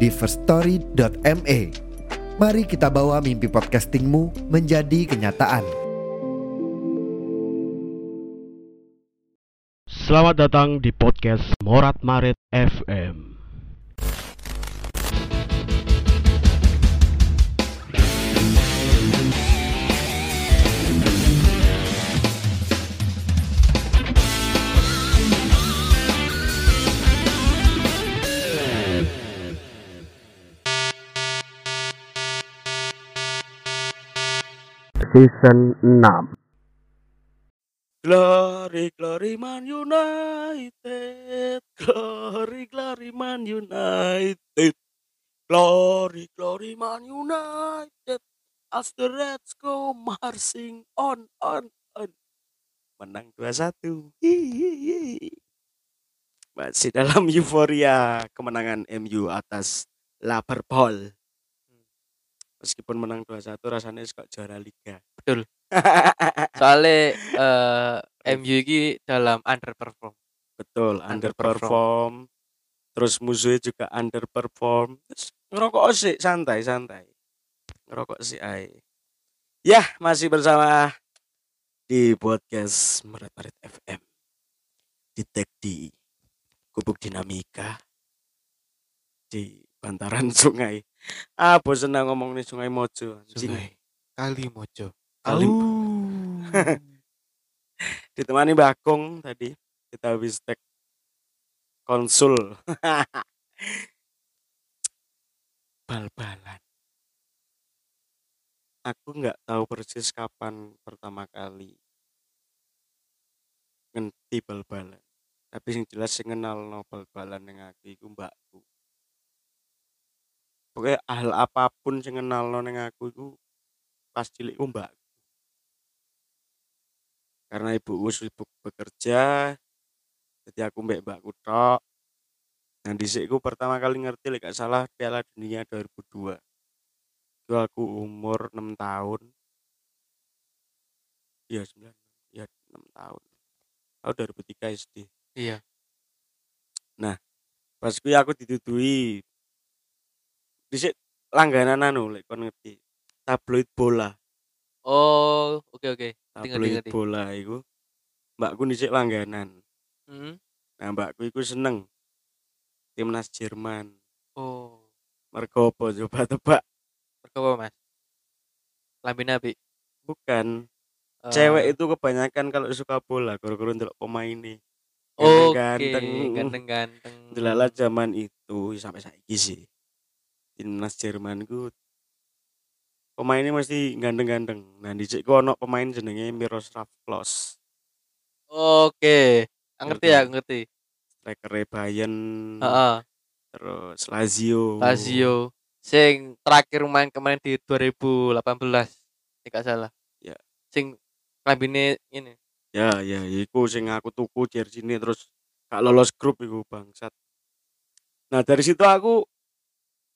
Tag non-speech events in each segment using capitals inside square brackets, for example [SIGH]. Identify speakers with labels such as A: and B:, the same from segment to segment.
A: di firststory.me. Mari kita bawa mimpi podcastingmu menjadi kenyataan.
B: Selamat datang di podcast Morat Marit FM.
C: season 6
B: Glory, glory man united. [LAUGHS] Glory, glory man united. Glory, glory man united. As the Reds go marching on, on, on. Menang 2-1. Hihihi. Masih dalam [LAUGHS] euforia kemenangan MU atas Liverpool. Meskipun menang 2-1 rasanya kok juara liga.
D: Betul. [LAUGHS] soalnya eh, MU ini dalam underperform
B: Betul,
D: Underperform.
B: underperform. Terus musuhnya juga underperform. Terus ngerokok sih, santai, santai. Ngerokok sih, ay. Yah, masih bersama di podcast Merat Marit FM. Di tag di Gubuk Dinamika. Di bantaran [LAUGHS] sungai. Ah, bosen lah ngomong nih sungai Mojo. anjing.
E: Sungai Kalimojo.
B: Kali- [LAUGHS] Ditemani Mbak Kung tadi. Kita habis tag konsul. Bal-balan. Aku nggak tahu persis kapan pertama kali ngenti bal-balan. Tapi yang jelas sing kenal no bal-balan yang aku iku mbakku. Pokoknya hal apapun sing kenal no yang aku iku pas cilik ku mbakku. Karena ibuku sibuk bekerja, jadi aku mbak mbakku tok. Nah dhisik ku pertama kali ngerti lek gak salah Piala Dunia 2002. Itu aku umur 6 tahun. Iya 9, ya 6 tahun. Aku 2003 SD.
D: Iya.
B: Nah, pas kuwi aku didudui. Dhisik langganan anu lek kon ngerti. Tabloid bola.
D: oh oke oke Ngerti,
B: Tabloid
D: ngerti.
B: bola iku mbakku dhisik langganan.
D: Hmm.
B: Nah, mbakku iku seneng timnas Jerman.
D: oh
B: Mergo apa coba tebak?
D: mereka apa mas Lambina bi
B: Bukan.
D: Eh,
B: cewek itu kebanyakan kalau suka bola guru-guru ndelok pemainnya
D: Eh, oke
B: ganteng-ganteng.
D: ganteng ganteng
B: delala zaman itu ya sampai saiki sih timnas Jerman ku pemainnya mesti ganteng-ganteng nah di cek ono pemain jenenge Miroslav Klose
D: oke Ah, ngerti ya aku ngerti
B: striker Bayern
D: Heeh.
B: terus Lazio
D: Lazio sing terakhir main kemarin di 2018 tidak salah
B: Ya.
D: sing lambine ini
B: ya ya iku sing aku tuku jersey ini terus gak lolos grup iku bangsat nah dari situ aku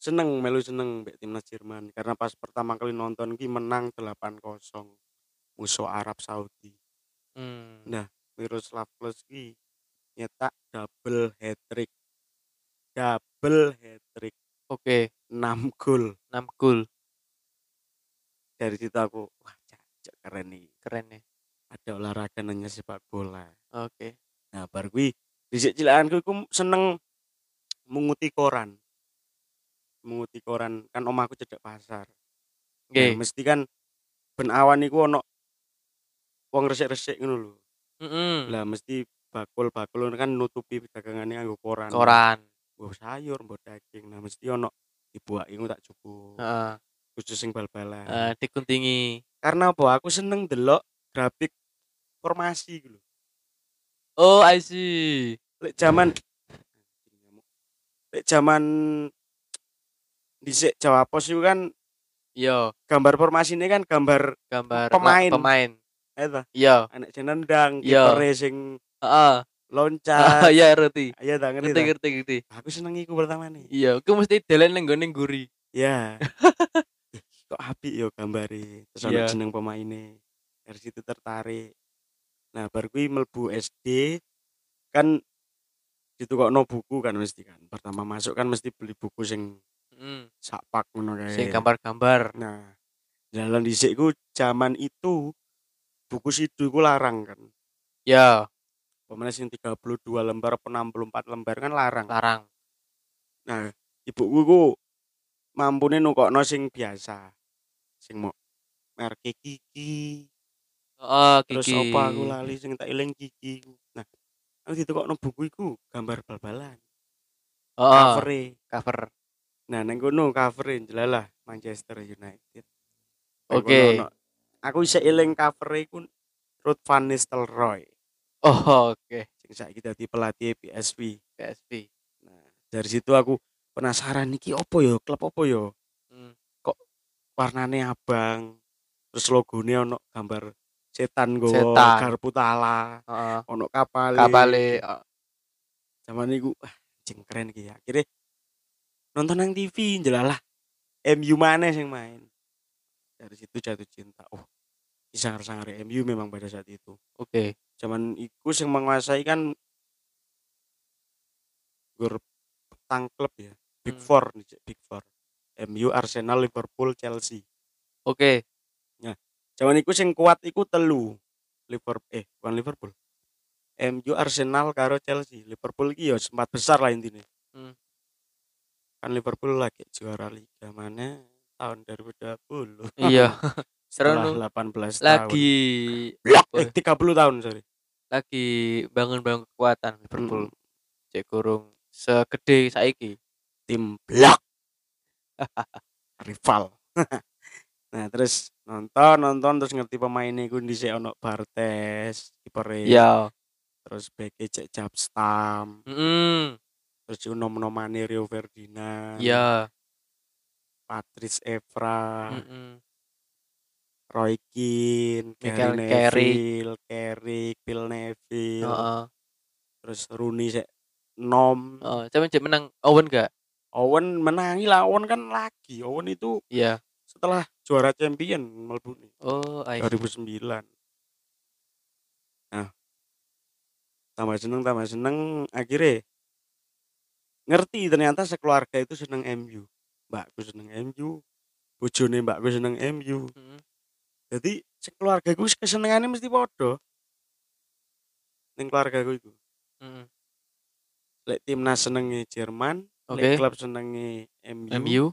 B: seneng melu seneng mbek timnas Jerman karena pas pertama kali nonton ki menang 8-0 musuh Arab Saudi
D: hmm.
B: Nah. Miroslav Klose ki nyetak double hat trick double hat trick
D: oke
B: 6 gol
D: 6 gol
B: dari situ aku wah cacok keren nih
D: keren nih
B: ada olahraga nanya sepak bola
D: oke
B: Nah, bar kuwi dhisik cilikanku iku seneng menguti koran. Menguti koran kan omahku cedek pasar.
D: oke
B: Nah, mesti kan ben awan iku ono wong resik-resik ngono lho.
D: Mm-mm.
B: Lah mesti bakul-bakul ngono kan nutupi dagangane nganggo koran.
D: koran
B: Mbok sayur, mbok daging. Nah, mesti ono dibuaki ngono tak cukup.
D: Heeh.
B: Khusus sing bal-balan.
D: Eh, dikuntingi
B: Karena apa? Aku seneng delok grafik formasi gitu.
D: Oh, I see.
B: lek zaman lek zaman dhisik Jawa Pos itu kan
D: Yo,
B: gambar formasi ini kan gambar
D: Iya, gambar la-
B: Pemain.
D: Pemain.
B: eta
D: Yo.
B: anak sing nendang
D: Iya.
B: kiper e sing
D: Heeh. [LAUGHS]
B: loncat
D: ya ngerti.
B: ayo tak Ah. ngerti
D: Ngerti
B: tak?
D: ngerti ngerti.
B: aku seneng iku pertama nih
D: Iya, aku mesti dalan nang gone guri. [LAUGHS]
B: ya kok api yo gambare terus ana
D: Iya.
B: jeneng pemainnya dari situ tertarik nah bar kuwi mlebu SD kan ditukokno buku kan mesti kan pertama masuk kan mesti beli buku sing
D: Heeh.
B: sakpak ngono kae
D: Hmm, Sing gambar-gambar.
B: nah jalan dhisik ku zaman itu buku sidu ku larang kan
D: Yo,
B: pemenang sing 32 lembar apa 64 lembar kan larang
D: larang.
B: Nah, ibuku ku mampune nukokno sing biasa. Sing mau merek Kiki,
D: Heeh,
B: terus
D: Kiki.
B: apa aku lali sing tak eling Kiki. ku. Nah, aku ditukokno buku iku gambar bal-balan,
D: Heeh,
B: covere.
D: cover.
B: Nah, nang kono covere jelalah Manchester United. Nang
D: Oke.
B: kono ono- Aku isih eling covere iku Ruth Van Nistelrooy
D: Oh, [LAUGHS] oke.
B: sing saiki dadi pelatih PSV.
D: PSP.
B: Nah, dari situ aku penasaran iki opo yo, klub opo yo.
D: Hmm.
B: warnane abang terus logone ono gambar setan go
D: Setan.
B: garpu tala
D: Heeh.
B: ono kapal
D: Kapale. eh,
B: zaman niku ah, jeng keren iki akhirnya nonton nang TV jelalah MU mana yang main dari situ jatuh cinta oh sangar sangar MU memang pada saat itu
D: Oke.
B: zaman iku yang menguasai kan grup petang klub ya big
D: Hmm.
B: four nih, Cek, big four MU Arsenal Liverpool Chelsea
D: Oke.
B: Jaman iku sing kuat iku telu. Liverpool eh bukan Liverpool. MU Arsenal karo Chelsea. Liverpool iki ya sempat besar lah intine.
D: Hmm.
B: Kan Liverpool lagi juara liga mana tahun 2020. [LAUGHS]
D: Iya. Seru
B: Setelah 18 tahun.
D: lagi
B: Eh, 30 tahun sorry.
D: lagi bangun-bangun kekuatan Liverpool.
B: Mm,
D: Cek kurung segede saiki.
B: Tim
D: [LAUGHS]
B: blok. Rival. [LAUGHS] nah, terus nonton nonton terus ngerti pemainnya iku dhisik ono Bartes, kipere.
D: Iya.
B: Terus beke cek Capstam.
D: Heeh.
B: terus itu nom-nomane Rio Ferdinand,
D: Iya.
B: Patrice Evra,
D: Mm-mm.
B: Roy Keane,
D: Michael
B: Gary Neville, Carrick, Phil Neville,
D: Heeh.
B: terus Rooney sek nom.
D: Oh, cuman cek menang Owen gak?
B: Owen menangi lah, Owen kan lagi. Owen itu
D: Iya.
B: setelah juara champion melbu nih,
D: Oh, I see.
B: 2009. Nah, tambah seneng tambah seneng akhirnya ngerti ternyata sekeluarga itu seneng MU. Mbakku seneng MU, bojone mbakku seneng MU.
D: Mm.
B: jadi keluarga gue kesenangannya mesti podo neng keluarga gue itu
D: Mm-mm.
B: lek timnas senenge Jerman lek
D: Oke.
B: klub senenge MU,
D: MU.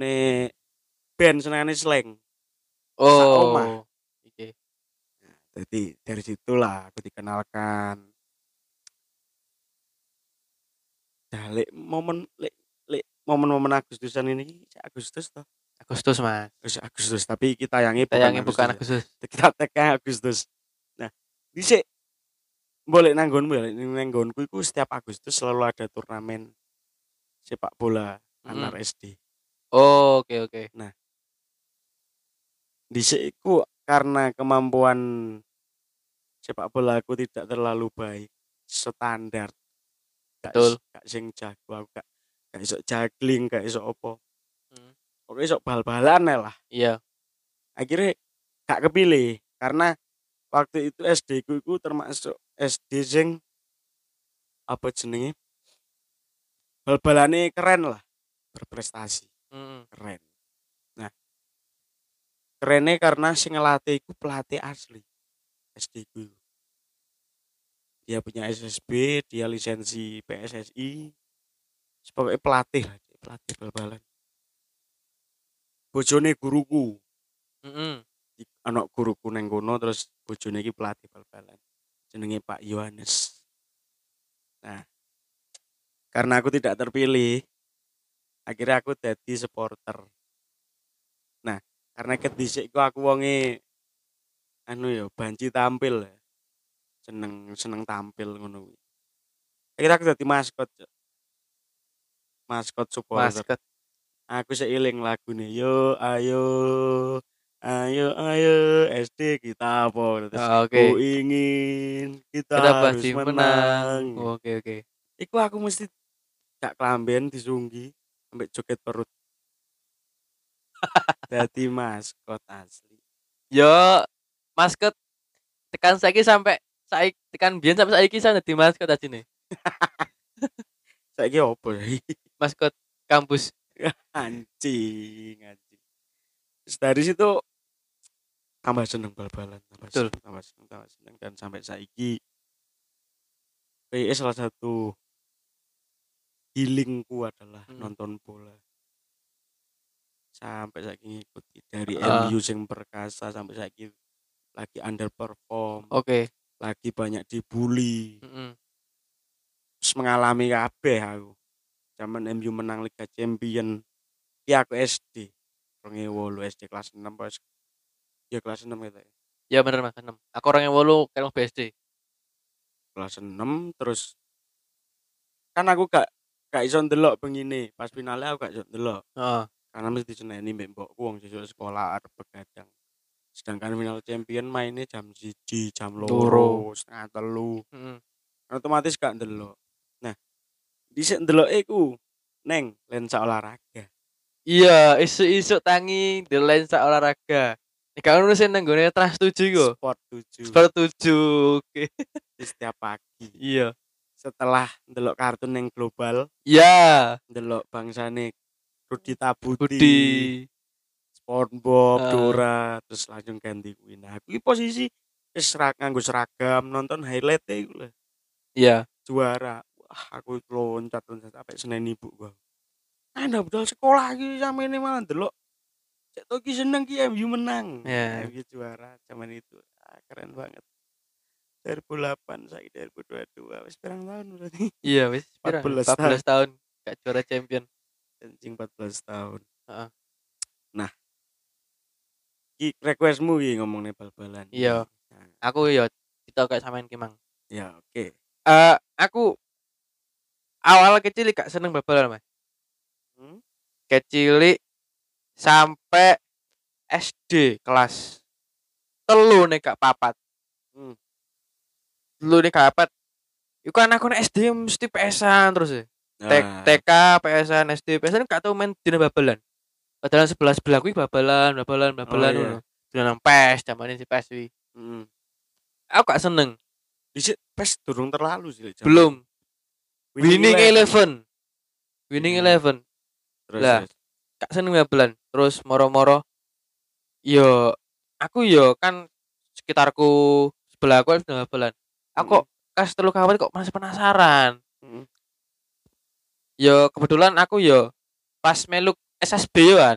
B: nek band senengane slang Sakoma.
D: Oh. Oke.
B: jadi dari situlah aku dikenalkan nah lek momen lek lek momen-momen Agustusan ini cak Agustus toh
D: Agustus, Mas.
B: Agustus, Agustus tapi kita tayangnya
D: Tayangnya
B: Agustus
D: bukan
B: ya.
D: Agustus.
B: kita tekan Agustus. Nah, dhisik boleh nanggon boleh ya, nanggonku itu setiap Agustus selalu ada turnamen sepak bola
D: Hmm.
B: antar SD.
D: Oh, oke oke.
B: Dhisik iku karena kemampuan sepak bola aku tidak terlalu baik standar. Gak
D: Betul.
B: is- Gak sing jago aku gak gak iso juggling, gak iso apa.
D: Hmm.
B: Pokoknya iso bal-balan ae lah.
D: Iya.
B: akhirnya gak kepilih karena waktu itu SD ku iku termasuk SD sing apa jenenge bal-balane keren lah berprestasi
D: Mm-mm.
B: keren nah kerennya karena sing ngelatih iku pelatih asli SD ku iku. dia punya SSB dia lisensi PSSI sebagai pelatih lah, pelatih bal-balan bojone guruku
D: Mm-mm.
B: ik- anak guruku neng kono terus bojone iki pelatih bal-balan jenenge Pak Yohanes nah karena aku tidak terpilih akhirnya aku jadi supporter nah karena kedisik ku aku wonge anu ya banci tampil ya. seneng seneng tampil ngono kuwi akhirnya aku jadi maskot Cok. maskot supporter
D: Maskot.
B: aku seiling lagu nih yo ayo ayo ayo SD kita apa terus
D: Ah,
B: ku
D: Oke.
B: ingin kita,
D: Kita
B: Oh, iya, harus
D: pasti
B: menang,
D: menang. Oh, Oke oke.
B: iku aku mesti gak kelamben disunggi sampai joget
D: [LAUGHS]
B: perut jadi maskot asli
D: Yo maskot tekan saiki sampai saik tekan biyen sampai saiki saya dadi maskot aja nih.
B: saiki opo ya?
D: Maskot kampus.
B: anjing anjing Terus dari situ tambah seneng bal-balan tambah
D: Betul.
B: seneng, tambah seneng tambah seneng dan sampai saiki PS salah satu healingku adalah
D: Hmm.
B: nonton bola sampai saiki ngikuti dari
D: Ah.
B: MU sing perkasa sampai saiki lagi underperform
D: Oke.
B: lagi banyak dibully
D: Mm-mm.
B: terus mengalami kabeh aku zaman MU menang Liga Champion ya aku SD 2008 SD kelas 6 pas ya kelas 6 gitu ya.
D: Ya bener Mas, enam. Aku orang yang wolu kalau BSD.
B: kelas 6 terus kan aku gak gak iso ndelok begini pas finalnya aku gak iso ndelok
D: Heeh.
B: karena mesti diseneni mbek mbokku wong sesuk sekolah arep begadang sedangkan final champion mainnya jam siji jam loro
D: Loro.
B: setengah telu
D: Mm-mm.
B: otomatis gak ndelok nah dhisik ndelok iku neng lensa olahraga
D: Iya, isu-isu tangi di lensa olahraga. Nih kalau nulis yang nenggone trans tujuh yo.
B: Sport 7
D: Skor tujuh. Oke.
B: di setiap pagi.
D: Iya.
B: Setelah ndelok kartun yang global,
D: Ya,
B: ndelok bangsane Rudi Tabuti,
D: Budi.
B: SpongeBob,
D: Ah.
B: Dora, terus langsung ganti kuwi. Nah, aku iki posisi wis serak nganggo seragam, nonton highlight iku lho.
D: Iya.
B: Juara. Wah, aku loncat-loncat sampai senen ibu gua. Ana budal sekolah iki sampe ini malah ndelok Cek to iki seneng ki MU menang.
D: Ya.
B: MU juara zaman itu. Ah, keren banget. 2008 saiki 2022 wis pirang tahun berarti. [LAUGHS]
D: Iya, wis pirang?
B: 14
D: 14 tahun. gak juara champion.
B: anjing 14 tahun.
D: Heeh.
B: Nah. Ki requestmu ki ngomongnya bal-balan.
D: Iya.
B: Nah,
D: Aku yo kita kayak samain ki Mang.
B: ya oke.
D: Eh, aku awal kecil gak seneng bal-balan, Mas.
B: Hmm?
D: Kecil sampai SD kelas telu nih gak papat.
B: Hmm.
D: Telu nih gak papat. Iku anak aku nek SD mesti PS-an terus ya. Tek,
B: Nah,
D: TK, PSN, SD, PSN kan gak tau main dina babalan. Padahal sebelah sebelah kuwi babalan, babalan, babalan
B: iya.
D: ngono. Dina nang PES, zamane si PES kuwi.
B: mm.
D: Aku gak seneng,
B: Dhisik pes durung terlalu sih. Jam.
D: belum. Winning Eleven. Winning
B: Hmm.
D: Eleven.
B: Terus,
D: Lah.
B: terus.
D: Gak seneng babalan. Terus moro-moro yo aku yo kan sekitarku sebelah aku dina babalan. Aku kok kas telu kawan kok masih penasaran.
B: Mm, mm.
D: Yo kebetulan aku yo pas meluk SSB yoan. kan.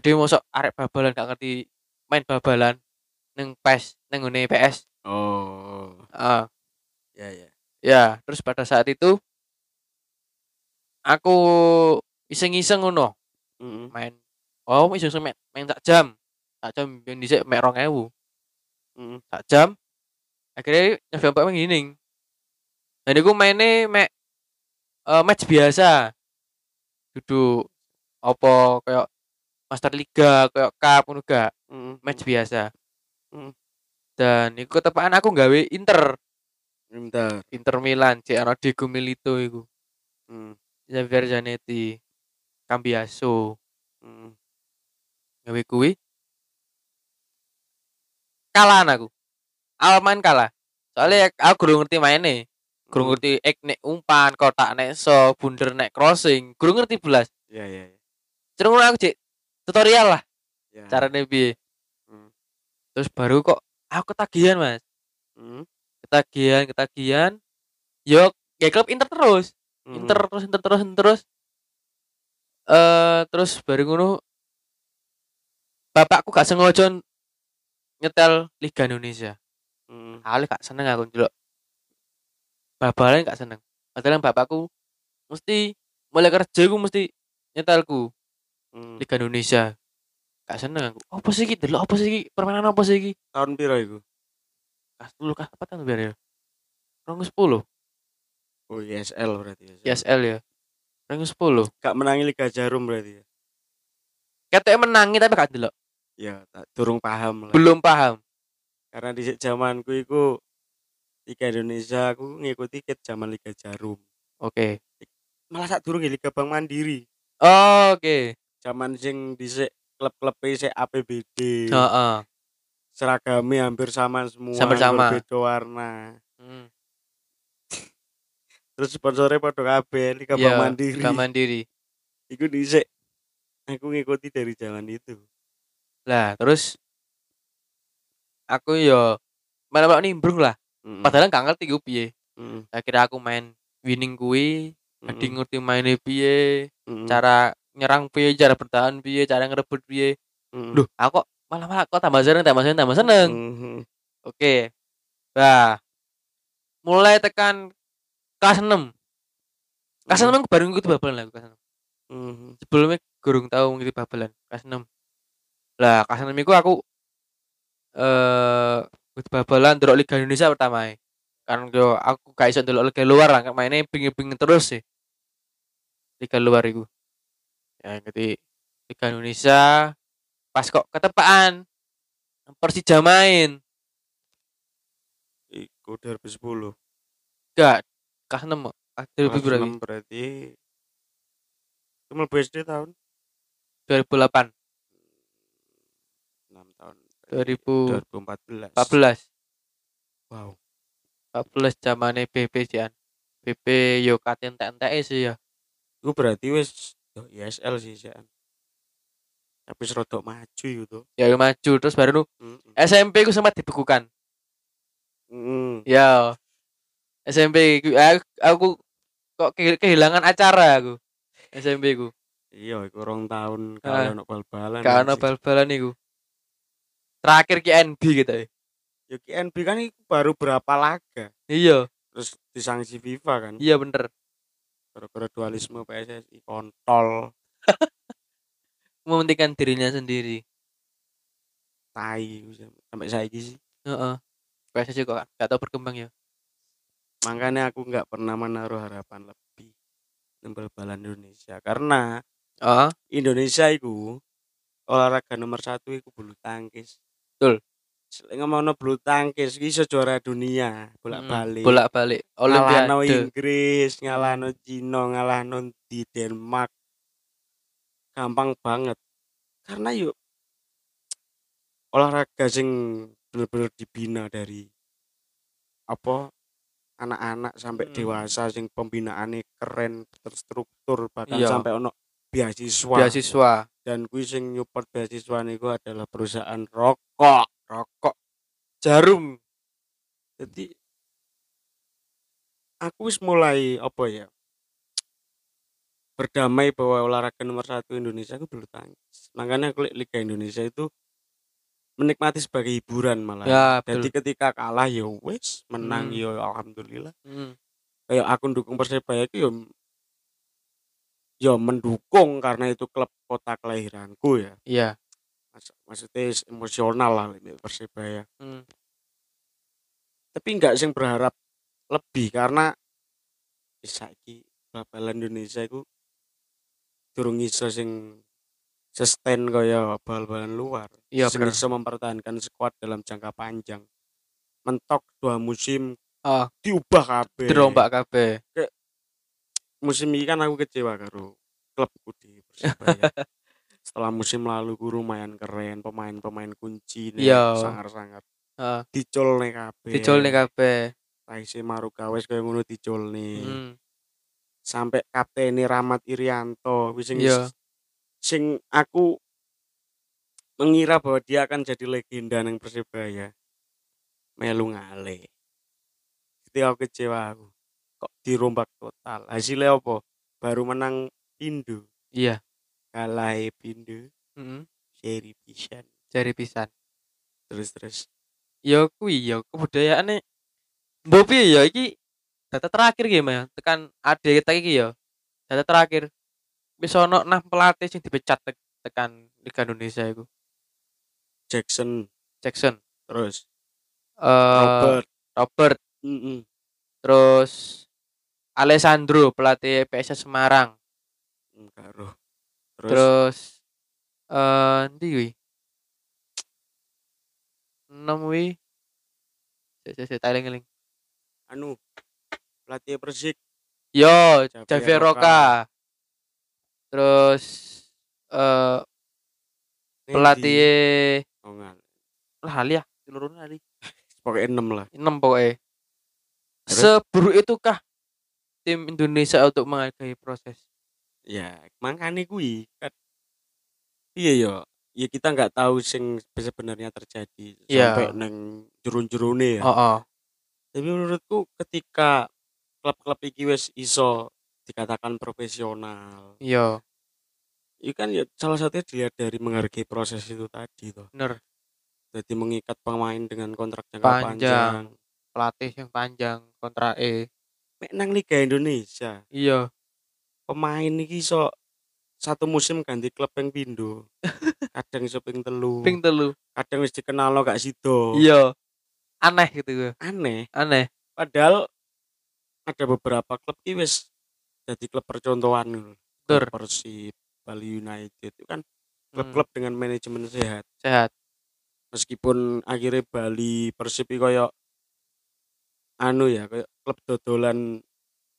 D: Jadi mosok arek babalan gak ngerti main babalan neng PES, neng E ngone PS.
B: Oh,
D: Ah,
B: ya ya.
D: ya, terus pada saat itu aku iseng-iseng ngono
B: Mm, mm.
D: main. Oh, iseng-iseng main, main tak jam. Tak jam yang dhisik mek 2000.
B: Mm, mm.
D: Tak jam. Akhirnya nyoba mbak main gining. Dan aku mainnya mek eh, match biasa. Duduk apa kayak Master Liga, kayak cup ngono gak.
B: Mm, mm.
D: match biasa.
B: Mm.
D: Dan iku ketepaan aku gawe Inter,
B: Bentar.
D: Inter Milan, Cek ana Diego Milito iku.
B: Mm,
D: Xavier Zanetti, Cambiaso,
B: mm.
D: gawe kuwi. Kalahan aku. Awal main kalah. Soalnya ya, aku kurang ngerti mainnya
B: Hmm.
D: Kurang ngerti ek nek umpan, kotak nek so, bunder nek crossing. Kurang ngerti belas.
B: Ya ya ya.
D: Terus aku cek tutorial lah
B: ya.
D: caranya piye.
B: Mm.
D: Terus baru kok aku ketagihan, Mas.
B: Mm,
D: Ketagihan, ketagihan. Yo, kayak klub Inter terus.
B: mm.
D: Inter terus Inter terus Inter terus eh terus baru ngono bapakku gak sengaja nyetel Liga Indonesia
B: Mm,
D: kali gak seneng aku njelok babalan gak seneng padahal bapakku mesti mulai kerja aku mesti nyetelku
B: mm.
D: Liga Indonesia gak seneng aku apa sih iki delok apa sih iki permainan apa sih iki
B: Tahun piro iku?
D: kas 10 kas 4 kan biar ya 2010
B: Oh, ISL berarti.
D: ISL ya ranking 10.
B: Gak menangi Liga Jarum berarti ya.
D: Katanya menangi tapi gak delok.
B: Ya, tak durung paham lah.
D: Belum paham.
B: Karena di zamanku iku Liga Indonesia aku ngikuti ket zaman Liga Jarum.
D: Oke.
B: Malah sak durung ya Liga Bank Mandiri.
D: Oke.
B: Zaman sing dhisik klub-klub sik APBD.
D: Heeh.
B: Seragamnya hampir sama semua,
D: Sama-sama.
B: berbeda warna.
D: Hmm.
B: Terus sponsornya pada kabeh Liga
D: Iya,
B: Bank Mandiri.
D: Bank Mandiri.
B: Iku dhisik aku ngikuti dari zaman itu.
D: Lah, terus aku yo malah nimbrung lah.
B: Mm-mm.
D: Padahal gak ngerti gue piye.
B: Mm-mm.
D: Akhirnya aku main winning kui, ngerti
B: Mm-mm.
D: ngerti mainnya piye,
B: Mm-mm.
D: cara nyerang piye, cara bertahan piye, cara ngerebut piye.
B: Mm-mm.
D: Duh, aku kok malah malah kok tambah seneng, tambah seneng, tambah seneng.
B: Mm-mm.
D: Oke. Nah, mulai tekan kelas 6. Kelas
B: Hmm. mm-hmm,
D: 6 aku baru ngikuti babalan lah kelas 6.
B: Mm-mm.
D: Sebelumnya gurung tahu ngikuti babalan kelas 6. Lah, kelas 6 iku aku eh ngikuti babalan delok Liga Indonesia pertama e. Kan yo aku gak iso delok liga luar lah, kan mainnya pingin-pingin terus sih. Liga luar iku. Ya ngerti Liga Indonesia pas kok ketepaan Persija main.
B: Iku 2010.
D: Enggak, kelas Ah, 6 kelas 2000
B: Kelas
D: berarti
B: enam berarti itu melebu SD tahun
D: 2008
B: enam tahun berarti
D: 2014
B: 2014 wow
D: 14 zamane BP jian BP yo katen TNTE sih ya
B: itu berarti wes yo ISL sih sih tapi serodok maju itu
D: ya yo maju terus baru nu SMP ku sempat dibekukan ya SMP ku aku, aku kok ke- kehilangan acara aku SMP ku
B: iya iku rong tahun
D: Ah.
B: kalau ono bal-balan
D: karena
B: anjing.
D: bal-balan iku terakhir ki NB gitu ya
B: yo KNB kan iku baru berapa laga
D: iya
B: terus disanksi FIFA kan
D: iya bener
B: gara-gara dualisme PSSI kontol
D: mementingkan dirinya sendiri
B: tai sampai saiki sih
D: heeh PSSI kok gak- gak tau berkembang ya
B: makanya aku nggak pernah menaruh harapan lebih nembel balan Indonesia karena Ah.
D: heeh
B: Indonesia itu olahraga nomor satu itu bulu tangkis
D: Betul.
B: selain ngomong bulu tangkis itu juara dunia bolak balik
D: Hmm, bolak-balik
B: ngalahno
D: olimpiade
B: Inggris ngalahno Cina ngalahno di Denmark gampang banget karena yuk olahraga sing bener-bener dibina dari apa anak-anak sampai
D: Mm.
B: dewasa sing pembinaannya keren terstruktur bahkan
D: Iya.
B: sampai ono beasiswa
D: beasiswa
B: dan kuwi sing nyupport beasiswa niku adalah perusahaan rokok rokok jarum jadi aku wis mulai apa ya berdamai bahwa olahraga nomor satu Indonesia itu bulu tangkis makanya aku lihat Liga Indonesia itu menikmati sebagai hiburan malah
D: Ya,
B: jadi ketika kalah ya wis menang
D: Hmm.
B: ya alhamdulillah
D: Mm.
B: kayak aku dukung persebaya itu ya ya mendukung karena itu klub kota kelahiranku ya
D: Iya.
B: Mas- maksudnya s- emosional lah ini persebaya
D: Mm.
B: tapi nggak sing berharap lebih karena ya bisa iki babalan Indonesia itu durung iso sing sustain kaya bal-balan luar
D: Iya,
B: sing
D: bener.
B: iso mempertahankan skuad dalam jangka panjang mentok dua musim
D: Ah.
B: diubah kabeh
D: Dirombak kabeh.
B: musim ini kan aku kecewa karo klubku di
D: [LAUGHS]
B: Persebaya. Setelah musim lalu ku lumayan keren, pemain-pemain kunci nih,
D: Iya.
B: sangar-sangar.
D: Heeh.
B: Dicol nih kabeh.
D: Dicolne kabeh.
B: Taisi Maruka wis kaya ngono dicol nih.
D: Mm.
B: Sampai kapten Ramat Irianto wis sing
D: Iya.
B: sing aku mengira bahwa dia akan jadi legenda nang Persebaya. Melu ngale. Jadi aku kecewa aku. Kok dirombak total. Hasilnya apa? Baru menang Indo.
D: Iya.
B: kalah pindu
D: Mm.
B: seri pisan
D: Jari pisan.
B: terus terus
D: Yo kuwi ya yo kebudayaane Bopi ya iki data terakhir ki Mas. Tekan ade kita iki ya. Data terakhir. Wis ono nah pelatih sing dipecat tek- tekan Liga Indonesia iku.
B: Jackson
D: Jackson.
B: terus
D: Eh
B: Robert
D: Robert.
B: Mm-mm.
D: terus Alessandro pelatih PSS Semarang.
B: enggak roh terus,
D: Terus eh ndi kuwi? 6 kuwi. Sik sik sik tak eling-eling.
B: anu pelatih Persik
D: Yo,
B: Javier
D: Javier
B: Roca.
D: Roca. Terus eh
B: Nendi.
D: pelatih
B: oh, nggak.
D: lali ya, seluruhnya lali.
B: pokoknya enam lah
D: 6 pokoknya.
B: Terus?
D: Seburuk itukah tim Indonesia untuk menghargai proses?
B: ya makanya kui kan iya yo ya kita nggak tahu sing sebenarnya terjadi
D: Iya.
B: sampai neng jurun-jurune ya
D: Oh, oh.
B: tapi menurutku ketika klub-klub iki wis iso dikatakan profesional
D: Iya,
B: itu kan ya salah satunya dilihat dari menghargai proses itu tadi toh
D: bener.
B: jadi mengikat pemain dengan kontrak jangka
D: Panjang.
B: panjang,
D: Pelatih yang panjang kontra E.
B: Mek nang Liga Indonesia
D: Iya.
B: pemain iki iso satu musim ganti klub yang
D: [LAUGHS]
B: pindo kadang iso ping telu
D: Ping telu.
B: kadang wis dikenal lo gak sido
D: Iya. Aneh gitu gue.
B: aneh
D: Aneh.
B: padahal ada beberapa klub ki wis jadi klub percontohan gitu.
D: Betul.
B: Klub Persib Bali United itu kan
D: Hmm,
B: klub-klub dengan manajemen sehat
D: sehat.
B: meskipun akhirnya Bali Persib iki koyo anu ya koyo klub dodolan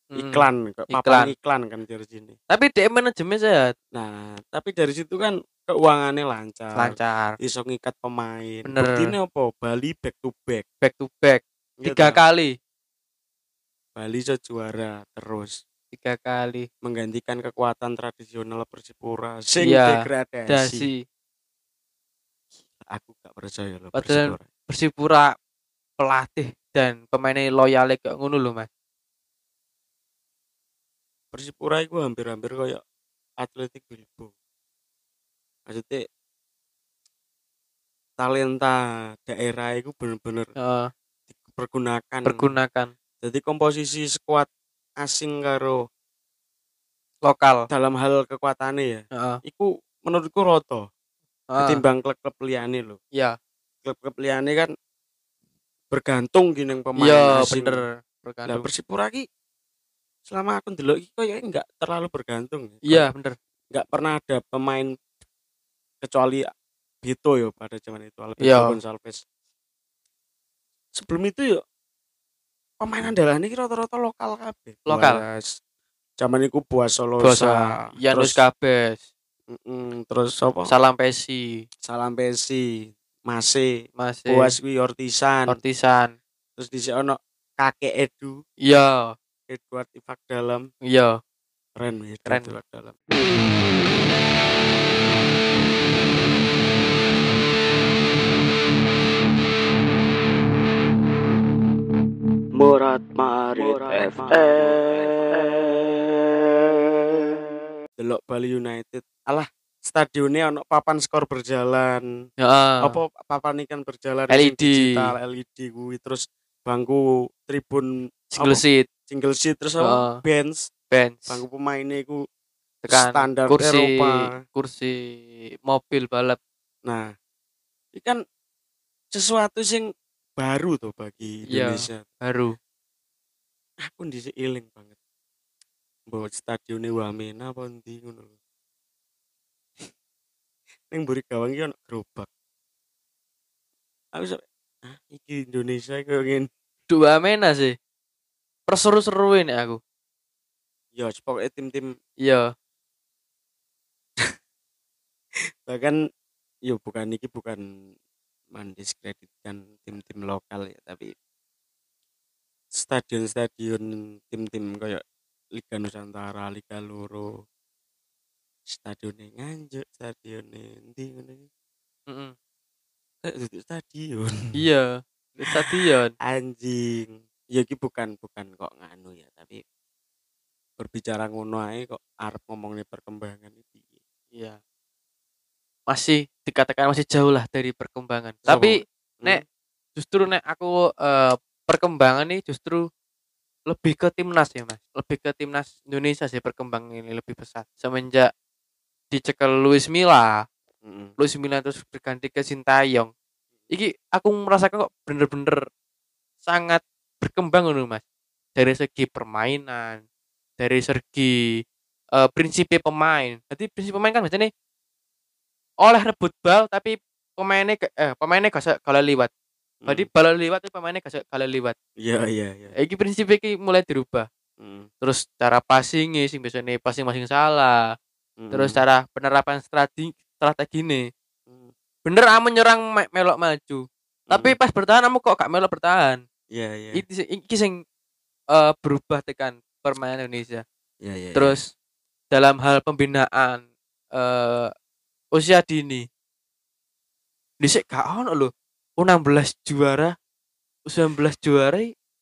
D: Hmm.
B: iklan kayak papan
D: Iklan.
B: iklan kan dari sini
D: Tapi dia manajemen sehat.
B: nah tapi dari situ kan keuangannya lancar,
D: Lancar.
B: iso ngikat pemain
D: Bener.
B: Buktinya apa Bali back to back
D: Back to back.
B: Iya
D: Tiga
B: toh?
D: kali.
B: Bali iso juara terus
D: Tiga kali.
B: menggantikan kekuatan tradisional Persipura sing
D: Iya,
B: degradasi
D: Dasi.
B: aku gak percaya loh
D: Padahal-
B: Persipura
D: Persipura pelatih dan pemainnya loyalnya kayak ngono loh mas.
B: Persipura itu hampir-hampir kayak Atletik Bilbao maksudnya talenta daerah itu bener-bener
D: Heeh,
B: dipergunakan
D: pergunakan
B: jadi komposisi skuad asing karo
D: lokal.
B: dalam hal kekuatannya ya
D: Heeh,
B: iku menurutku roto
D: heeh.
B: ketimbang klub-klub liyane lho
D: Iya.
B: klub-klub liyane kan bergantung gini yang pemain
D: Iya
B: asing
D: bener. Nah,
B: Lah
D: Bergantung.
B: Persipura ki Kan? selama aku ndelok iki koyoke enggak terlalu bergantung.
D: Iya bener.
B: Enggak pernah ada pemain kecuali Bito yo pada zaman itu Alberto
D: Iya.
B: Gonçalves. Sebelum itu yo pemain andalan iki rata-rata lokal kabeh.
D: Lokal.
B: Buas. Zaman iku Buas Solosa.
D: Bosa.
B: terus,
D: Yanus
B: Oh.
D: Kabes.
B: Mm-mm, terus apa?
D: Salam Pesi.
B: Salam Pesi, Mase,
D: Masih.
B: Buas kuwi Ortisan.
D: Ortisan.
B: terus di ono Kakek Edu,
D: Iya.
B: Edward Ifak Dalam.
D: Iya.
B: Keren, ya, Edward
D: Keren.
B: Ifak Dalam. Murad Ma'arif Delok Bali United Alah stadionnya ono papan skor berjalan
D: Heeh.
B: apa papan ikan berjalan sing
D: LED.
B: digital LED kuwi terus bangku tribun
D: Single
B: apa?
D: seat.
B: single seat terus apa
D: Heeh.
B: bench
D: Bench.
B: bangku pemainnya iku
D: Ah. Tekan.
B: standar
D: kursi
B: Eropa
D: kursi mobil balap
B: nah ini kan sesuatu sing baru tuh bagi
D: Iya.
B: Indonesia
D: baru
B: aku ndisik iling banget mbok stadione Wamena apa ndi ngono lho [LAUGHS] ning mburi gawang iki ono gerobak aku sampe ah iki Indonesia koyo ngene
D: dua mena sih perseru-seruin aku
B: ya pokoke tim-tim
D: iya
B: bahkan yo bukan iki bukan mendiskreditkan tim-tim lokal ya tapi stadion-stadion tim-tim kayak Liga Nusantara, Liga Loro stadionnya nganjuk stadionnya ndi ngono iki.
D: Mm-mm.
B: Eh, duduk stadion [LAUGHS]
D: iya di stadion
B: anjing ya ki bukan bukan kok nganu ya tapi berbicara ngono ae kok arep ngomongin perkembangan itu
D: iya masih dikatakan masih jauh lah dari perkembangan
B: Terus apa,
D: tapi
B: Hmm?
D: Nek. justru nek aku eh, perkembangan nih justru lebih ke timnas ya mas lebih ke timnas Indonesia sih perkembangan ini lebih pesat semenjak dicekel Luis Milla
B: Mm-mm.
D: Luis Milla terus berganti ke Sintayong iki aku merasakan kok bener-bener sangat berkembang ngono mas dari segi permainan dari segi eh prinsipnya pemain. Jadi prinsip pemain kan biasanya oleh rebut bal tapi pemainnya ke- eh pemainnya gak usah kalah liwat. Jadi
B: Hmm.
D: bal liwat tapi pemainnya gak usah kalah liwat.
B: iya iya iya
D: Iki prinsipnya iki mulai dirubah.
B: Hmm,
D: Terus cara passing sing biasanya passing masing salah.
B: hmm,
D: Terus cara penerapan strategi strategi nih.
B: hmm,
D: Bener kamu nyerang me- melok maju. Tapi
B: hmm.
D: pas bertahan kamu kok gak melok bertahan.
B: iya iya
D: Iki sing- iki sing eh, berubah tekan permainan Indonesia.
B: iya iya iya.
D: Terus dalam hal pembinaan eh usia dini. Dhisik gak ono lho. U16 juara, U19 juara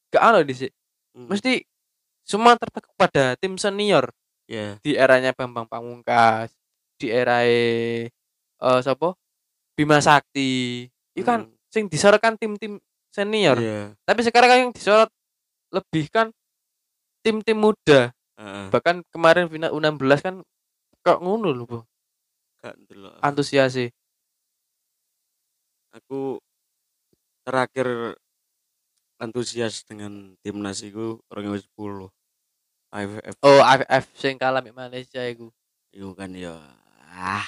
D: gak ono dhisik.
B: Hmm,
D: Mesti semua tertekuk pada tim senior
B: iya
D: di eranya Bambang Pamungkas, di era eh sapa? Bima Sakti. Itu kan
B: Hmm,
D: sing disorotkan tim-tim senior.
B: iya
D: Tapi sekarang kan yang disorot lebih kan tim-tim muda.
B: Heeh,
D: Bahkan kemarin final U16 kan kok ngono lho, Bu.
B: gak ndelok.
D: Antusiasi.
B: aku terakhir antusias dengan timnas itu 2010 AFF
D: Oh, AFF sing kalah mek Malaysia iku.
B: itu kan ya ah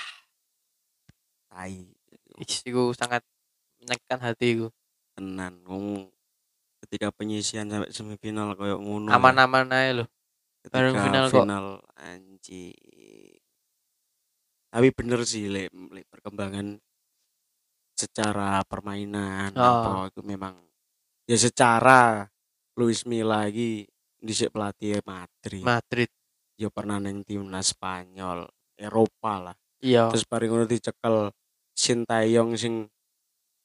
B: tai
D: Iks, Iku sangat menyakitkan hati iku.
B: tenan ngomong ketika penyisian sampai semifinal kayak ngono ya.
D: Aman-aman ae lho.
B: ketika
D: bareng final kok.
B: anjing tapi bener sih lek lek perkembangan secara permainan
D: Oh.
B: apa itu memang ya secara Luis Milla lagi dhisik pelatih Madrid
D: Madrid.
B: ya pernah neng timnas Spanyol Eropa lah
D: Iya.
B: terus bareng ngono dicekel Sintayong sing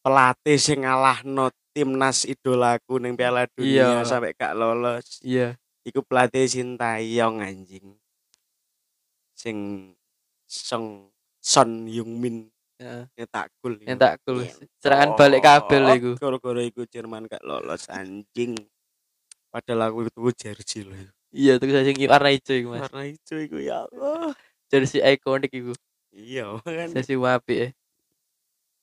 B: pelatih sing ngalahno timnas idolaku ning Piala Dunia
D: Iya.
B: sampai gak lolos
D: Iya.
B: iku pelatih Sintayong anjing sing Song Son Heung-min
D: Heeh.
B: nyetak gol iku.
D: Entak kul.
B: Iya.
D: Serangan balik kabel
B: Oh.
D: iku.
B: gara-gara iku Jerman gak lolos anjing padahal aku itu jersey loh iku.
D: Iya, terus sing warna hijau iku, Mas.
B: warna hijau iku ya Allah
D: Jersey ikonik iku.
B: iya kan
D: sesi wapi ya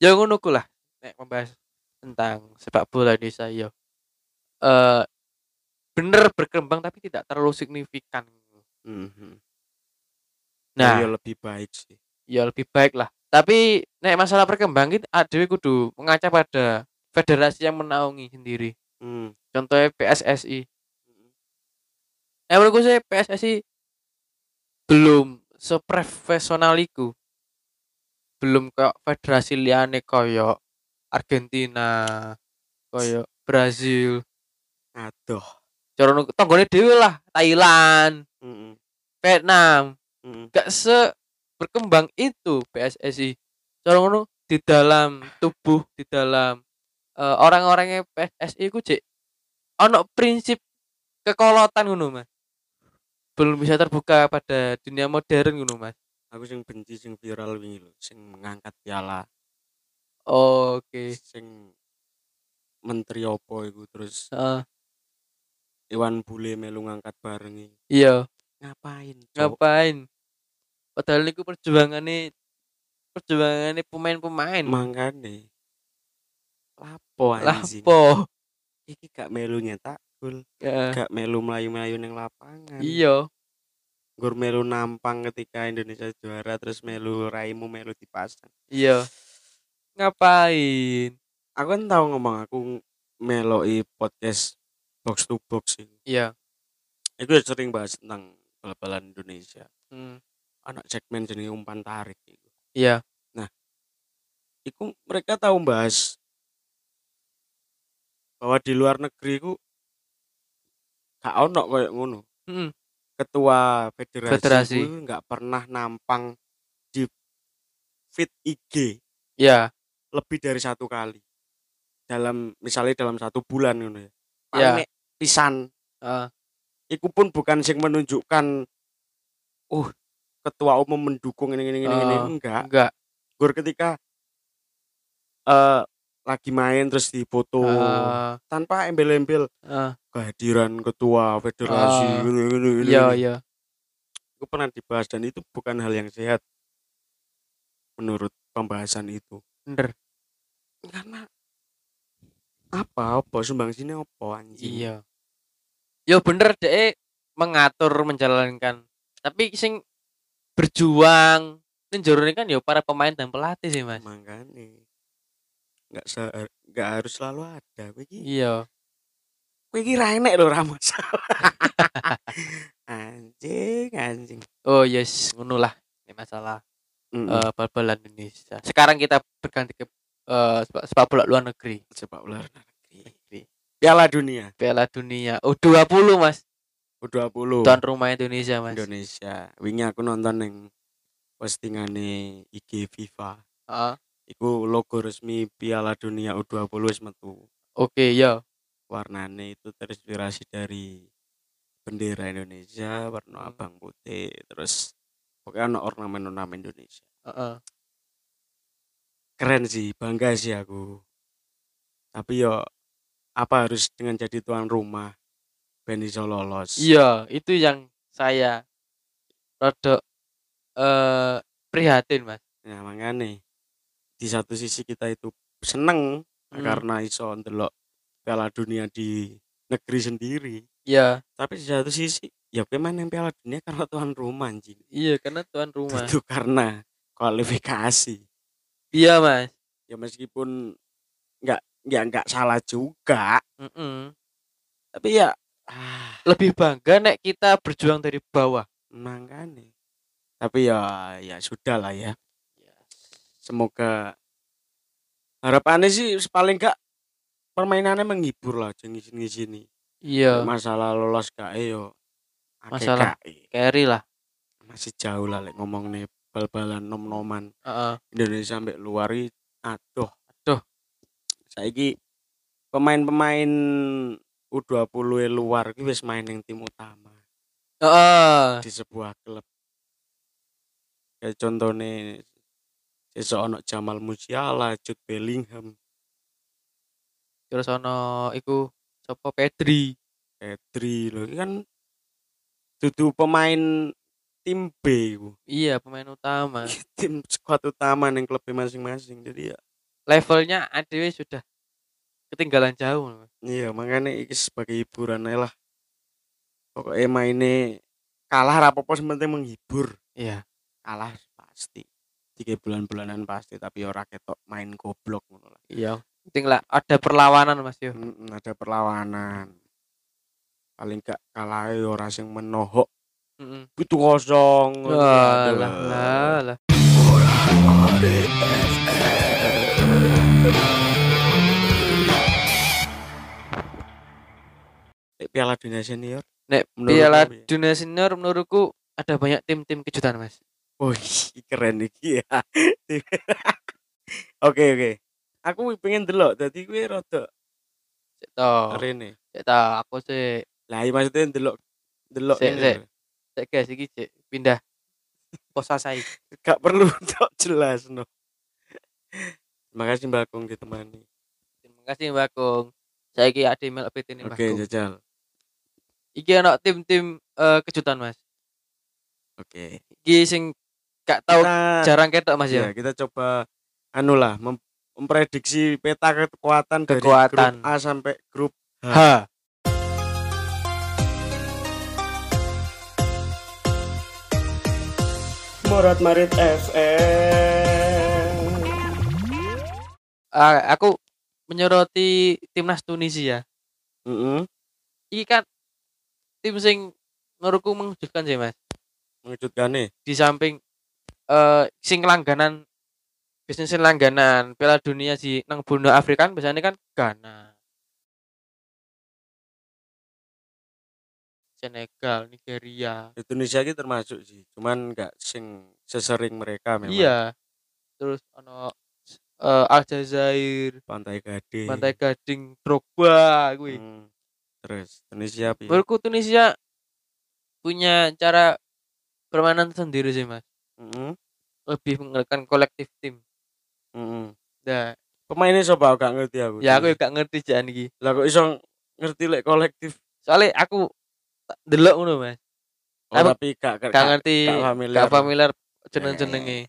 D: ya ngono ku lah nek membahas tentang sepak bola Indonesia ya eh bener berkembang tapi tidak terlalu signifikan
B: Mhm. Ya,
D: nah
B: lebih baik sih
D: ya lebih baik lah tapi nek masalah perkembang kita adewe kudu mengaca pada federasi yang menaungi sendiri
B: Hmm.
D: contohnya PSSI nah menurutku Eh, sih PSSI belum seprofesional iku belum kayak federasi liane koyo Argentina koyo Brazil
B: Aduh.
D: cara nu- tanggone dhewe lah Thailand
B: Mm-mm.
D: Vietnam
B: Mm-mm.
D: gak se berkembang itu PSSI cara ngono di dalam tubuh di dalam eh, orang-orangnya PSSI ku cek ono prinsip kekolotan ngono mas belum bisa terbuka pada dunia modern ngono mas
B: Aku sing benci sing viral wingi lho, sing ngangkat piala,
D: oke
B: sing menteri opo iku terus
D: Heeh,
B: Iwan Bule melu ngangkat bareng iki.
D: iya
B: Ngapain? Cok?
D: ngapain padahal niku perjuangannya perjuangannya pemain-pemain
B: Mangkane. kan Lapo anjing.
D: lapo
B: Iki gak melu nyetak gol,
D: Ya,
B: gak melu melayu-melayu ning lapangan.
D: iya
B: Gur melu nampang ketika Indonesia juara terus melu raimu melu dipasang.
D: iya ngapain
B: Aku kan tau ngomong aku meloi podcast box to box iki.
D: iya
B: Aku ya sering bahas tentang bal-balan Indonesia.
D: Hmm,
B: Anak segmen jenis umpan tarik. Iku.
D: iya
B: Iku mereka tahu bahas bahwa di luar negeri ku gak ono koyo ngono.
D: Mm-mm.
B: Ketua federasi,
D: Federasi.
B: ku nggak pernah nampang di fit IG
D: iya
B: lebih dari satu kali. Dalam misalnya dalam satu bulan ngono ya.
D: Ya.
B: Paling nek pisan
D: heeh.
B: iku pun bukan sing menunjukkan uh ketua umum mendukung ini ini ini, ini.
D: Ah.
B: enggak
D: enggak
B: gur ketika eh lagi main terus
D: Oh.
B: difoto
D: Heeh,
B: tanpa embel-embel
D: heeh.
B: kehadiran ketua federasi
D: Ah.
B: gini, gini, gini,
D: iya
B: gini.
D: iya
B: Itu pernah dibahas dan itu bukan hal yang sehat menurut pembahasan itu
D: bener
B: karena apa apa sumbang sini apa anjing
D: iya yo bener deh mengatur menjalankan tapi sing berjuang ini jerone kan ya para pemain dan pelatih sih mas
B: Makanya nggak se eh, nggak harus selalu ada. Kowe iki
D: iya
B: kowe iki ra enek lho ra masalah. [LAUGHS] anjing, anjing.
D: oh yes ngono lah ini masalah
B: Mm-mm.
D: eh bal-balan Indonesia sekarang kita berganti ke eh, sepak, sepak bola luar negeri
B: sepak bola luar negeri. Piala Dunia
D: Piala Dunia U20 mas
B: U20
D: tuan rumah Oh. Indonesia mas
B: Indonesia. Wingi aku nonton ning postingane IG FIFA.
D: Ah,
B: Iku logo resmi Piala Dunia U20 wis metu.
D: oke ya
B: Warnane itu terinspirasi dari bendera Indonesia, warna
D: Hmm.
B: abang putih, terus pokoknya ono ornamen-ornamen Indonesia.
D: Heeh.
B: Keren sih, bangga sih aku. Tapi yo apa harus dengan jadi tuan rumah ben iso lolos.
D: Iya, itu yang saya rada eh prihatin, Mas.
B: Nah, makanya di satu sisi kita itu seneng
D: Hmm.
B: karena iso ndelok Piala Dunia di negeri sendiri.
D: Iya,
B: Tapi di satu sisi ya gue main yang Piala Dunia karena tuan rumah anjing.
D: iya karena tuan rumah.
B: Itu Gitu, karena kualifikasi.
D: Iya, Mas.
B: Ya meskipun nggak ya nggak salah juga,
D: Mm-mm.
B: tapi ya ah,
D: Lebih bangga nek kita berjuang dari bawah.
B: makanya. kan Tapi ya ya sudah lah ya. Semoga harapannya sih paling enggak permainannya menghibur lah jeng sini sini.
D: Iya,
B: masalah lolos KE yo akeh
D: Masalah.
B: KE.
D: carry lah.
B: masih jauh lah lek ngomong nih bal-balan nom-noman
D: Heeh.
B: Indonesia sampai luar i- aduh
D: Aduh.
B: saiki pemain-pemain U20 e luar iki wis main ning tim utama
D: Heeh.
B: di sebuah klub ya contohnya sesuk ono Jamal Musiala, Jude Bellingham,
D: Terus ono iku sapa Pedri.
B: Pedri lho iki kan dudu pemain tim B iku. [LAUGHS]
D: Iya, pemain utama.
B: tim skuad utama yang klubnya masing-masing jadi ya
D: Levelnya ADW sudah ketinggalan jauh. Mas.
B: iya makanya ini sebagai hiburan ae lah pokoknya mainnya kalah rapopo sementing menghibur
D: Iya.
B: kalah pasti tiga bulan-bulanan pasti tapi ya ora ketok main goblok ngono lah.
D: Iya. Penting lah ada perlawanan, Mas yo.
B: Mm, ada perlawanan paling gak kalah orang sing menohok
D: Heeh.
B: itu kosong ngono ya,
D: Wah,
B: lah.
D: lah, lah, lah.
B: Lek Piala Dunia Senior
D: Nek
B: Menurutmu
D: Piala
B: piye?
D: Dunia Senior menurutku ada banyak tim-tim kejutan mas.
B: Wih, [LAUGHS] keren iki ya. Oke oke. Aku pengen delok dadi kuwi rada
D: Cek toh,
B: rene.
D: cek toh, aku sih
B: Lah iya maksudnya delok delok
D: Sik,
B: ngene
D: sik.
B: lho.
D: cek guys iki cek pindah posa saya.
B: Gak perlu [LAUGHS] tok jelas no. Makasih Mbak Kung ditemani.
D: Terima kasih Mbak Kung. Saya ki ada email update ini Mbak
B: Oke,
D: Kung.
B: jajal.
D: Iki ono tim-tim eh, kejutan mas.
B: Oke.
D: Iki sing gak tau
B: Kita
D: jarang ketok mas
B: ya,
D: ya.
B: kita coba anu lah mem- memprediksi peta kekuatan dari
D: Kekuatan.
B: grup A sampai grup
D: Ha.
B: Morat Marit FM.
D: Ah, aku menyoroti timnas Tunisia.
B: Heeh.
D: Iki kan tim sing menurutku mengejutkan sih mas.
B: Mengejutkan nih.
D: di samping eh sing langganan bisnis sing langganan Piala Dunia di nang benua Afrika kan biasanya kan Ghana Senegal Nigeria
B: Indonesia ini termasuk sih, cuman nggak sing sesering mereka memang.
D: iya terus ono eh, Aljazair
B: Pantai Gading.
D: Pantai Gading Drogba kuwi
B: Hmm. iya. Terus Indonesia piye?
D: menurutku Tunisia punya cara permainan sendiri sih mas
B: Mm-mm,
D: lebih menggunakan kolektif tim
B: mm-mm.
D: nah
B: Pemainnya coba gak ngerti aku.
D: ya aku
B: Terus,
D: juga ngerti jangan iki
B: lah kok iso ngerti lek kolektif.
D: soalnya aku tak delok ngono mas
B: Oh,
D: Aku
B: tapi gak gak,
D: gak
B: gak-
D: ngerti
B: gak familiar. Eh.
D: gak familiar jeneng jenenge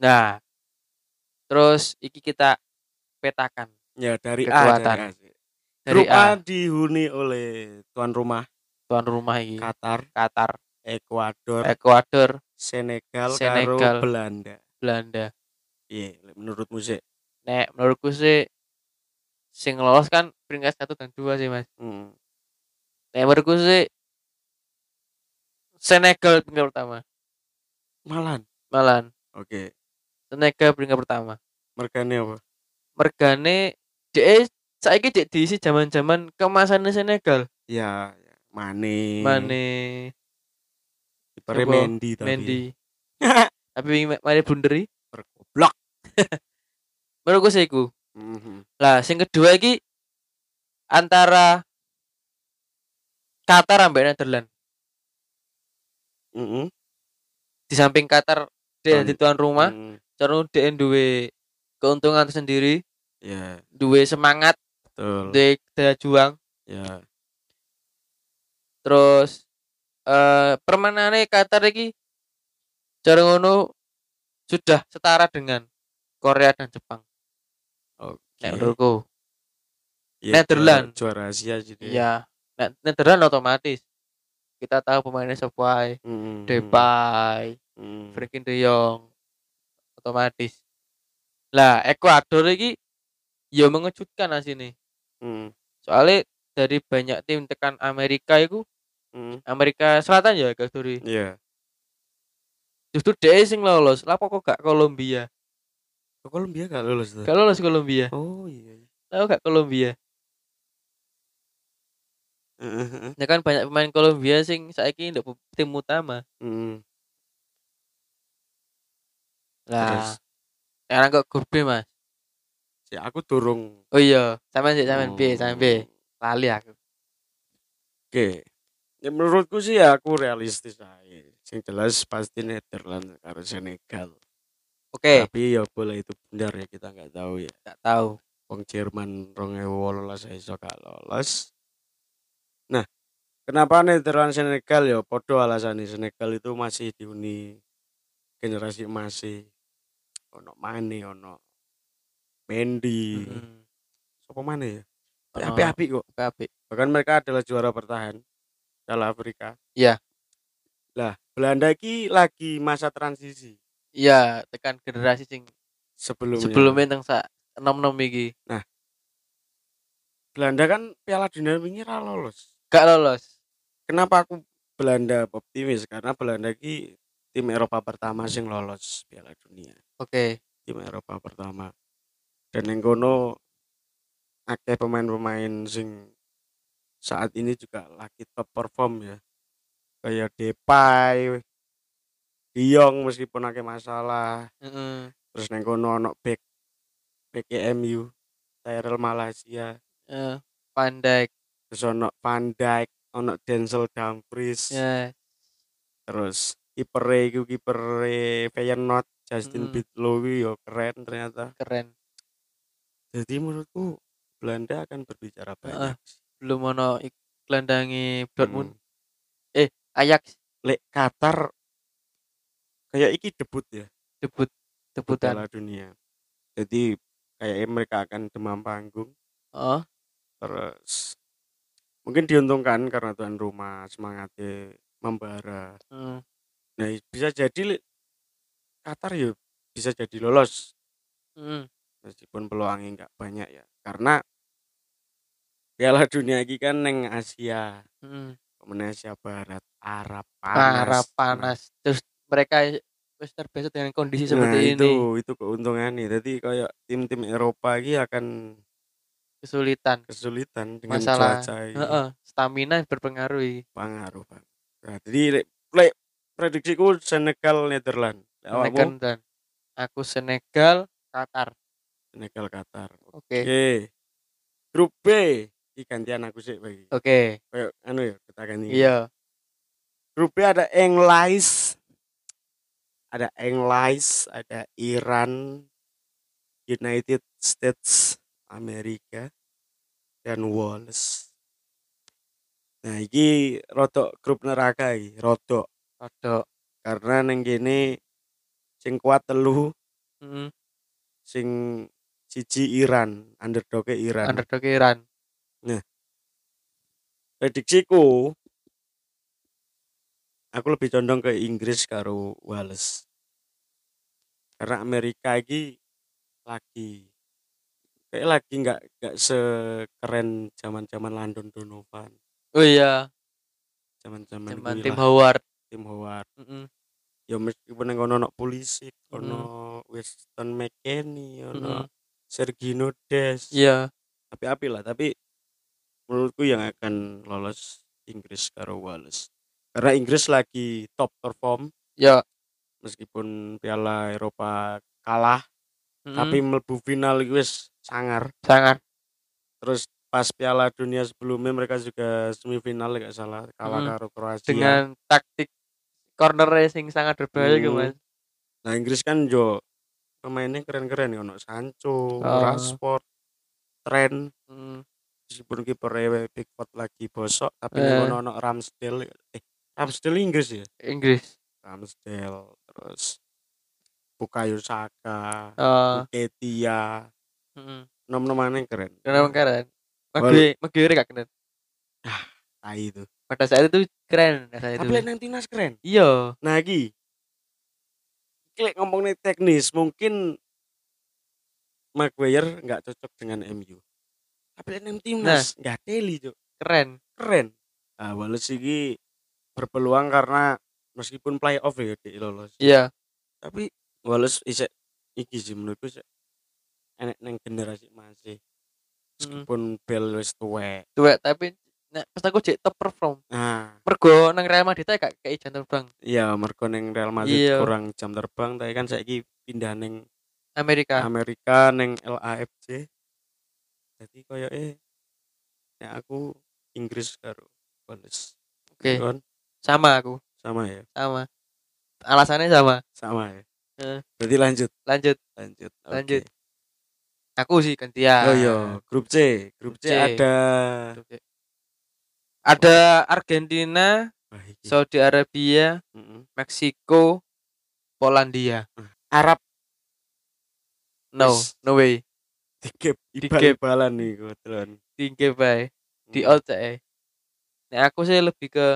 D: nah terus iki kita petakan
B: Ya dari
D: Kekuatan.
B: A. Dari A.
D: dari
B: Grup A
D: A
B: dihuni oleh tuan rumah
D: tuan rumah iki
B: Qatar,
D: Qatar
B: Ekuador,
D: Ekuador,
B: Senegal,
D: Senegal.
B: karo Belanda.
D: Belanda.
B: Iya, menurutmu sih.
D: Nek menurutku sih sing lolos kan peringkat satu dan dua sih mas.
B: Hmm.
D: Nek menurutku sih Senegal peringkat pertama.
B: Malan.
D: Malan
B: Oke.
D: Senegal peringkat pertama.
B: Mergane apa?
D: Mergane DE saiki dek diisi zaman-zaman kemasannya Senegal.
B: Ya, ya. Mane.
D: Mane,
B: Kipernya
D: Siapa?
B: Mendy tapi.
D: Mendy. [LAUGHS] Tapi mari blunderi.
B: Pergoblok.
D: Menurutku sih iku.
B: Mhm.
D: Lah sing kedua iki antara Qatar ambek Netherlands.
B: Mhm.
D: Di samping Qatar dia
B: Dan-
D: jadi tuan rumah,
B: Mhm.
D: terus dia duwe keuntungan tersendiri,
B: Ya,
D: duwe semangat,
B: betul.
D: duwe daya juang,
B: Ya.
D: terus eh permainannya Qatar iki cara ngono sudah setara dengan Korea dan Jepang.
B: Oke.
D: Nek menurutku.
B: Ya,
D: Netherlands.
B: Juara, juara Asia gitu. ya.
D: Iya. Nek Netherlands otomatis kita tahu pemainnya siapa, eh,
B: Mhm.
D: Depay,
B: Mhm.
D: Frankie De Jong otomatis. Lah, Ekuador iki ya mengejutkan asine.
B: Mhm.
D: Soalnya dari banyak tim tekan Amerika itu
B: Mhm.
D: Amerika Selatan ya Ekuador.
B: Iya.
D: Justru DE sing lolos. Lah kok gak Kolombia?
B: Kok Kolombia gak lulus tuh?
D: Gak lolos Kolombia.
B: Oh iya. [LAUGHS] iya.
D: Lah kok gak Kolombia?
B: Heeh.
D: Ya kan banyak pemain Kolombia sing saiki ndak pe- tim utama.
B: Mhm. Terus?
D: Lah, sekarang kan kok grup B, Mas.
B: Ya, aku turung.
D: Oh iya, sampean sih sampean B,
B: Hmm.
D: sampean B. Lali aku.
B: Oke. Ya menurutku sih ya aku realistis aja. Yang jelas pasti Netherlands karo Senegal.
D: Oke,
B: Tapi ya boleh itu benar ya kita nggak tahu ya.
D: gak tahu.
B: Wong Jerman 2018 saya ya iso gak lolos. Nah, kenapa Netherlands Senegal ya podo alasannya Senegal itu masih diuni generasi masih ono Mane ono Mendy.
D: Hmm.
B: Sopo Mane ya?
D: Ono.
B: Api-api kok.
D: Kabeh.
B: Bahkan mereka adalah juara bertahan Piala Afrika.
D: Iya.
B: Lah, Belanda iki lagi masa transisi
D: Iya, tekan generasi sing
B: sebelumnya.
D: sebelumnya teng sak nom-nom iki
B: Belanda kan Piala Dunia wingi ra lolos.
D: gak lolos.
B: Kenapa aku Belanda optimis? Karena Belanda iki tim Eropa pertama sing lolos Piala Dunia.
D: Oke.
B: Tim Eropa pertama. Dan yang kono akeh pemain-pemain sing saat ini juga lagi top perform ya. Kayak Depay, Diong meskipun akeh masalah,
D: Heeh.
B: terus neng kono ono back back E MU Tyrell Malaysia
D: Eh, Pandai.
B: terus ono Van Dijk ono Denzel Dumfries
D: Ya,
B: terus kipere iku kipere Feyenoord Justin
D: Mm.
B: Bidlow iki yo keren ternyata
D: keren.
B: jadi menurutku Belanda akan berbicara banyak
D: Belum ono ik- gelandangi Dortmund. Eh,
B: Hmm.
D: Ajax
B: lek Qatar kayak iki debut ya
D: debut debutan.
B: Piala Dunia jadi kayak e mereka akan demam panggung
D: Oh,
B: terus mungkin diuntungkan karena tuan rumah semangatnya membara
D: hmm.
B: nah bisa jadi li- Qatar ya bisa jadi lolos
D: Hmm.
B: meskipun peluangnya nggak banyak ya karena Piala Dunia ini kan neng Asia
D: hmm.
B: kemudian Asia Barat Arab panas
D: Parah
B: Nah,
D: panas. Terus mereka wis terbiasa dengan
B: nah,
D: kondisi seperti ini.
B: itu itu keuntungannya jadi kayak tim-tim Eropa ini akan
D: Kesulitan.
B: kesulitan dengan
D: Masalah.
B: cuaca ini.
D: Heeh, stamina berpengaruh. iki.
B: pengaruh bang nah, jadi lek- lek prediksiku Senegal Netherlands Lek awakmu,
D: Senegal dan aku Senegal, Qatar.
B: Senegal Qatar oke
D: Oke.
B: grup B Iki gantian aku sih bagi
D: Oke.
B: kayak anu ya kita ganti
D: Iya.
B: grup B ada English ada English ada Iran United States Amerika dan Wales nah iki rotok grup neraka iki rotok
D: Rodok.
B: karena neng kene sing kuat telu
D: Heeh.
B: sing siji Iran underdog Iran
D: Underdog Iran.
B: prediksiku aku lebih condong ke Inggris karo Wales karena Amerika iki lagi kayak lagi nggak nggak sekeren zaman zaman London Donovan
D: oh iya
B: zaman zaman
D: zaman tim Howard
B: tim Howard
D: Mm-mm.
B: ya meskipun yang ono ono polisi
D: Mm.
B: ono Winston McKennie ono
D: Mm-mm.
B: Sergino Des
D: iya
B: tapi api lah tapi menurutku yang akan lolos Inggris karo Wales karena Inggris lagi top perform
D: ya
B: meskipun Piala Eropa kalah
D: Mm-mm.
B: tapi iya. mlebu final iki wis sangar
D: sangat
B: terus pas Piala Dunia sebelumnya mereka juga semifinal nggak salah kalah
D: Mm.
B: karo Kroasia
D: dengan taktik corner racing sangat berbahaya gitu,
B: Hmm.
D: mas
B: nah Inggris kan jo pemainnya keren-keren ya ono Sancho,
D: Ah.
B: Rashford, Trent
D: Mm.
B: meskipun kiper Pickford lagi bosok tapi
D: Eh.
B: ono ono Ramsdale eh Ramsdale Inggris ya
D: Inggris
B: Ramsdale terus Bukayo Saka
D: oh
B: Ketia
D: mm-mm.
B: nom-nomannya keren
D: karena keren
B: Iya. Wal-
D: Magui Magui gak keren
B: Tai itu
D: pada saat itu keren pada saat
B: tapi
D: itu
B: nang timnas keren
D: iya
B: nah iki klik ngomongnya teknis mungkin Maguire nggak cocok dengan MU tapi lek nang timnas
D: Nah.
B: nggak teli Cuk.
D: keren
B: keren nah, Wales iki berpeluang karena meskipun playoff ya di lolos
D: iya
B: tapi Wales isek iki sih menurutku isek enek neng generasi
D: Hmm.
B: masih
D: Mm-mm.
B: pun Bell wis tuwek.
D: tuwek tapi nek pas aku jek top perform
B: Nah,
D: mergo nang Real Madrid ae gak kayak jantung bang
B: iya mergo ning Real Madrid
D: Iya.
B: kurang jam terbang tapi kan saiki pindah ning Ah,
D: Amerika
B: Amerika ning LAFC. Jadi koyoke nek aku Inggris karo Wales.
D: oke
B: Kon,
D: sama aku
B: sama ya,
D: sama alasannya sama
B: sama ya.
D: Eh.
B: Berarti lanjut,
D: lanjut
B: lanjut. oke.
D: Lanjut. aku sih gantian
B: Oh iya, grup C. Grup C,
D: C.
B: ada
D: Oke. ada Argentina
B: Wah, iki.
D: Saudi Arabia
B: Mm-mm.
D: Meksiko Polandia
B: Arab
D: no
B: Yes.
D: no way
B: dikep
D: Dikep.
B: ibal-ibalan nih kebetulan.
D: tinggi bae di
B: Mm.
D: all CE. Nah, aku sih lebih ke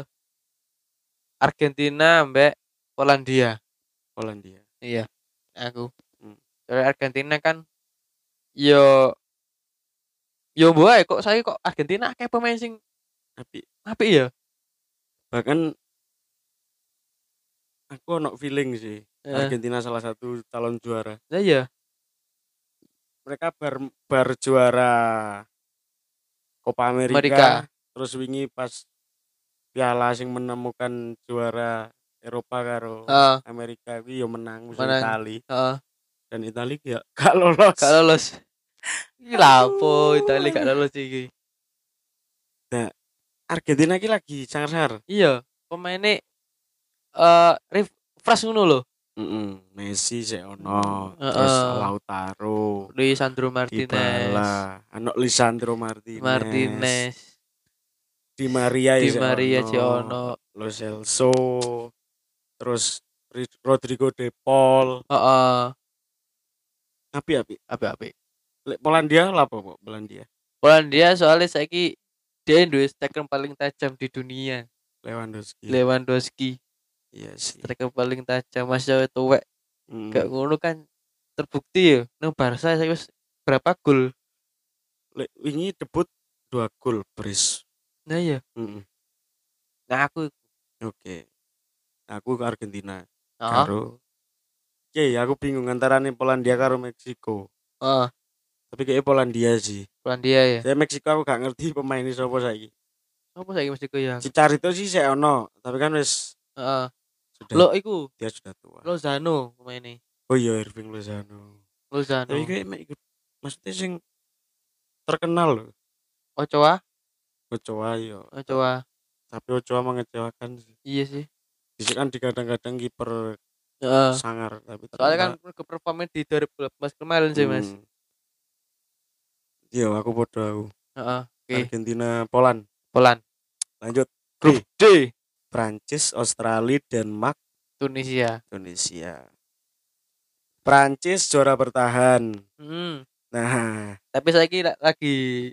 D: Argentina mbak Polandia.
B: Polandia.
D: Iya, aku.
B: Hmm.
D: Soalnya Argentina kan yo yo boy kok saya kok Argentina kayak pemain sing
B: Tapi
D: apa ya?
B: bahkan aku ono feeling sih
D: Eh,
B: Argentina salah satu calon juara
D: lah iya.
B: mereka bar bar juara Copa America,
D: Amerika.
B: terus wingi pas piala sing menemukan juara Eropa karo
D: Heeh,
B: Amerika kuwi yo menang musuh
D: Ah. Menang.
B: Itali
D: heeh.
B: dan Itali ya [LAUGHS] gak lolos
D: Gak lolos. Iki lapo
B: Aduh.
D: Italia gak lolos iki.
B: Argentina iki lagi sangar-sangar
D: Iya, pemainnya eh ref fresh ngono lho.
B: Messi sih ono
D: Heeh.
B: terus Lautaro
D: Luis Sandro Martinez.
B: Dybala anak Lisandro Martinez,
D: Martinez.
B: Di Maria
D: Di
B: isih
D: Maria
B: ono.
D: Ciono.
B: Lo Celso, terus Ri- Rodrigo De Paul.
D: Heeh,
B: Api api.
D: apa-apa.
B: Lek Polandia lah apa kok Polandia?
D: Polandia soalnya saiki dia duwe striker paling tajam di dunia.
B: Lewandowski.
D: Lewandowski,
B: iya sih.
D: striker paling tajam masih tuwek.
B: Mm.
D: Gak ngono kan terbukti ya. Nang Barca saya wis berapa gol?
B: Lek wingi debut dua gol Bris.
D: Nah ya,
B: Mm-mm.
D: nah aku
B: Oke. Aku ke Argentina.
D: heeh.
B: Karo. Oke, aku bingung antara nih Polandia karo Meksiko.
D: heeh,
B: Tapi kayaknya Polandia sih.
D: Polandia ya.
B: Saya Meksiko aku gak ngerti pemainnya siapa saiki.
D: Apa saiki mesti ya?
B: Cicarito sih saya ono, tapi kan wis
D: Heeh.
B: sudah
D: Lo iku
B: dia sudah tua.
D: Lozano pemainnya.
B: Oh iya Irving Lozano.
D: Lozano.
B: tapi kayak mek iku- maksudnya sing terkenal loh
D: Ochoa,
B: Ochoa yo
D: Ochoa.
B: tapi Ochoa mengecewakan sih
D: Iya sih.
B: Bisa kan digadang-gadang kiper
D: Heeh.
B: sangar tapi
D: Soalnya kan mereka performa di 2018 kemarin sih,
B: Hmm.
D: Mas.
B: Iya, aku bodoh aku.
D: Heeh. Oke.
B: Argentina, Poland.
D: Poland.
B: Lanjut Eh.
D: Grup D,
B: Prancis, Australia, Denmark,
D: Tunisia.
B: Indonesia. Prancis juara bertahan.
D: Hmm.
B: Nah,
D: Tapi saiki la- lagi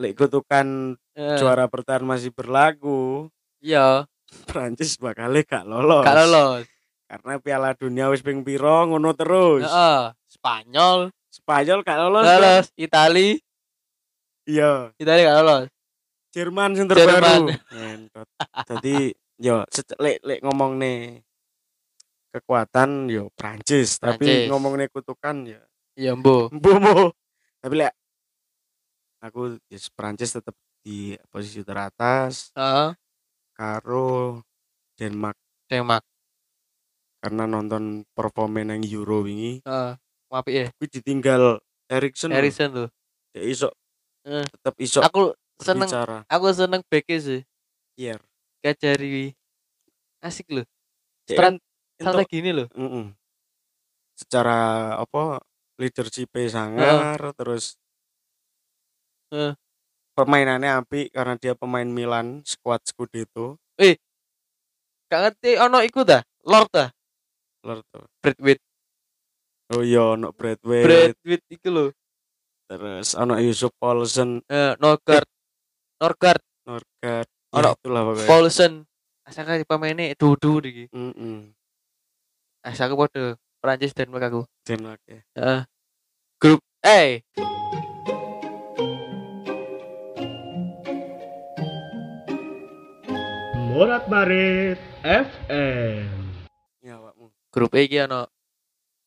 B: lek kutukan
D: eh,
B: juara bertahan masih berlaku,
D: Iya,
B: Prancis bakal gak lolos.
D: Gak lolos.
B: Karena Piala Dunia wis ping pira ngono terus.
D: Heeh. Spanyol
B: Spanyol gak lolos.
D: gak
B: kan?
D: lolos, Itali,
B: Iya,
D: Itali gak lolos.
B: Jerman sing
D: Jerman.
B: terbaru. Ngentot. Dadi yo sece- lek lek ngomongne kekuatan yo Prancis, tapi
D: Prancis.
B: ngomongne kutukan ya
D: Iya, Mbo.
B: Bomo. Tapi lek aku yes, Prancis tetap di posisi teratas
D: Heeh.
B: karo Denmark
D: Denmark.
B: karena nonton performa yang Euro wingi
D: Heeh. Mapi ya.
B: kuwi ditinggal Erikson lho.
D: Erikson tuh.
B: Dia iso
D: Eh.
B: tetap iso
D: Aku seneng
B: bicara
D: aku seneng beke sih.
B: Iya.
D: Kajari. Asik loh. Strat- Santai gini loh.
B: secara apa leadership sangar
D: Eh.
B: terus
D: Heeh.
B: permainannya api karena dia pemain Milan squad Scudetto
D: Gak ngerti ono iku ta? Lord ta?
B: Lur tuh.
D: Bradwit.
B: oh iya ono Bradway
D: Bradwit iku loh.
B: terus ono Yusuf Paulsen
D: Eh, Norgard. Norgard,
B: Norgard
D: Ono
B: ya, itulah pokoknya
D: Paulsen. Asal kan pemainnya dudu iki.
B: Mm-mm.
D: Asal aku podo Prancis Denmark aku.
B: Denmark ya.
D: Heeh. Grup eh
C: Morat Marit FM.
B: ya awakmu.
D: grup E iki ono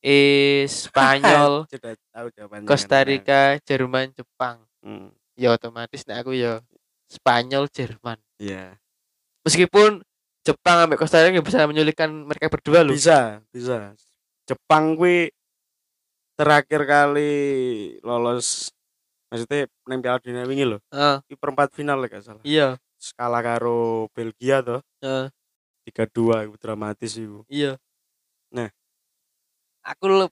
D: E
B: [LAUGHS]
D: [LAUGHS] Spanyol,
B: sudah tahu jawabannya
D: Costa
B: kan?
D: Rica, Jerman, Jepang.
B: Mm,
D: Ya otomatis nek aku ya Spanyol, Jerman.
B: iya.
D: Meskipun Jepang ambek Costa Rica nggak bisa menyulitkan mereka berdua loh.
B: bisa bisa Jepang kuwi terakhir kali lolos maksudnya nang Piala Dunia wingi lho
D: Heeh,
B: di perempat final lek gak salah
D: Ah, iya,
B: skala karo Belgia tuh
D: heeh,
B: tiga dua itu dramatis itu
D: iya.
B: Nah.
D: Aku le-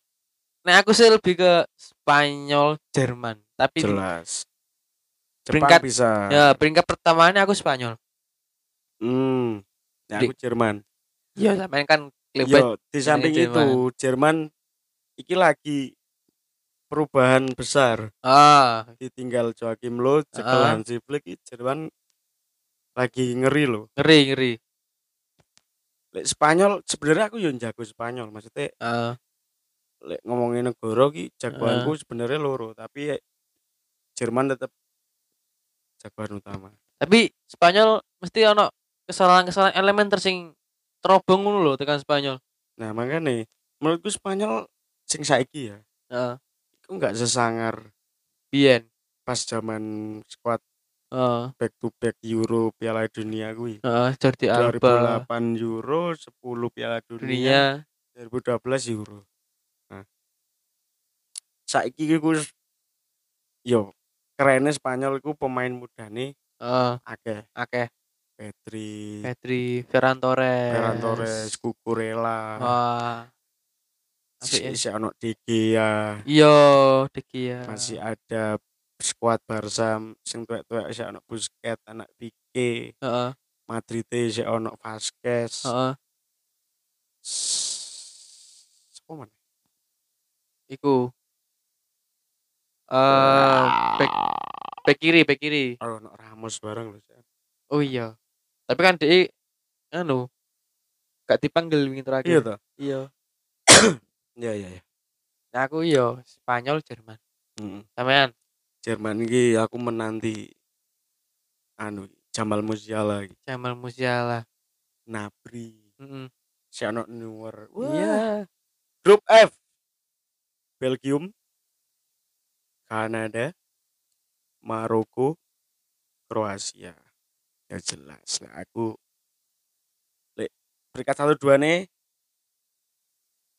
D: Nah aku sih lebih ke Spanyol, Jerman. Tapi di-
B: jelas Jepang
D: Peringkat-
B: bisa
D: ya peringkat pertamanya aku Spanyol.
B: hmm nah, aku Jerman
D: Iya, sampean kan klebet.
B: yo di samping
D: Jerman.
B: itu Jerman iki lagi perubahan besar
D: Ah,
B: ditinggal Joachim Low, cekel
D: Ah.
B: Hansi Flick iki Jerman lagi ngeri loh
D: ngeri ngeri.
B: lek Spanyol sebenarnya aku yang jago Spanyol maksudnya
D: Ah,
B: lek ngomongin negara ki jagoanku sebenarnya loro tapi ya Jerman tetap jagoan utama
D: tapi Spanyol mesti ono kesalahan-kesalahan elementer sing terobong ngono lho tekan Spanyol.
B: nah makanya menurutku Spanyol sing saiki ya
D: Heeh,
B: aku nggak sesangar
D: Ah, biyen.
B: pas zaman squad
D: Heeh,
B: back to back Euro Piala Dunia gue
D: heeh, Jordi Alba
B: 2008 Euro 10 Piala Dunia,
D: dunia.
B: 2012 Euro nah saiki gue yo kerennya Spanyol ku pemain muda nih
D: Heeh,
B: akeh
D: akeh
B: Petri,
D: Petri, Ferran Torres.
B: Ferran Torres, Kukurela,
D: Wah. Apik ya.
B: si si ono De Gea,
D: Iya, Deki ya.
B: masih ada skuad Barca sing tuwek-tuwek si ono Busquets, anak Pique,
D: Heeh,
B: Madrid si ono Vasquez.
D: heeh.
B: S- Sopo meneh?
D: Iku. Eh, back back kiri, back kiri.
B: Oh, ono Ramos bareng lho. Cak.
D: Oh iya. Tapi kan dia anu gak dipanggil wingi
B: Iya
D: terakhir.
B: toh?
D: Iya.
B: Iya iya iya.
D: Nah, aku yo Spanyol Jerman.
B: Mm.
D: Sampean.
B: Jerman iki aku menanti anu Jamal Musiala, iki.
D: Jamal Musiala.
B: Nabri,
D: Mm-mm.
B: si ono Neuer. Wah,
D: Iya.
B: Grup F. Belgium, Kanada, Maroko, Kroasia. Ya jelas. Nah, aku lek peringkat satu dua nih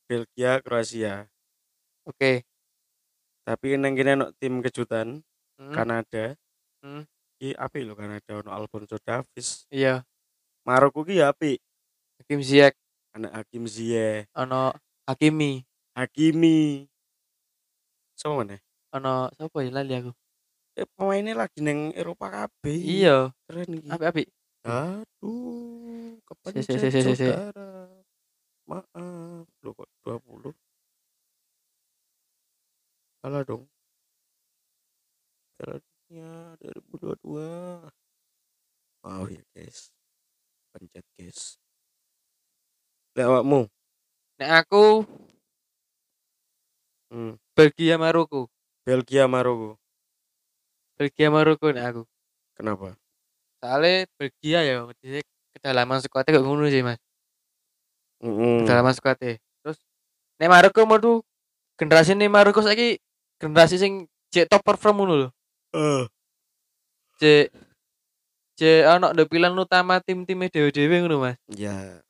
B: Belgia, Kroasia.
D: Oke.
B: Tapi neng kene ono tim kejutan
D: Mm,
B: Kanada.
D: Hmm.
B: Ki api lho Kanada ono Alfonso Davies.
D: Iya.
B: Maroko ki ya api.
D: Hakim Ziyech
B: Anak Hakim Ziyech,
D: ono Hakimi,
B: Hakimi. Sama mana?
D: ono sapa ya lali aku.
B: Eh, pemainnya lagi neng Eropa kabeh.
D: Iya,
B: keren iki.
D: apik-apik.
B: Aduh, kepencet
D: si, si, si, si.
B: saudara. Maaf, lo kok 20. Salah dong. Piala Dunia 2022. Wow ya guys. oh iya, Pencet guys. Lek awakmu.
D: Nek aku
B: Hmm.
D: Belgia Maroko.
B: Belgia Maroko.
D: Belgia Maroko nek aku.
B: Kenapa?
D: Soalnya Belgia ya mesti kedalaman skuadnya kok ngono sih, Mas.
B: Mm-mm.
D: Kedalaman skuadnya. Terus nek Maroko mau generasi nih Maroko saiki generasi sing cek top perform ngono lho.
B: Eh,
D: Cek cek ana ndo pilihan utama tim-time dhewe-dhewe ngono, Mas.
B: ya.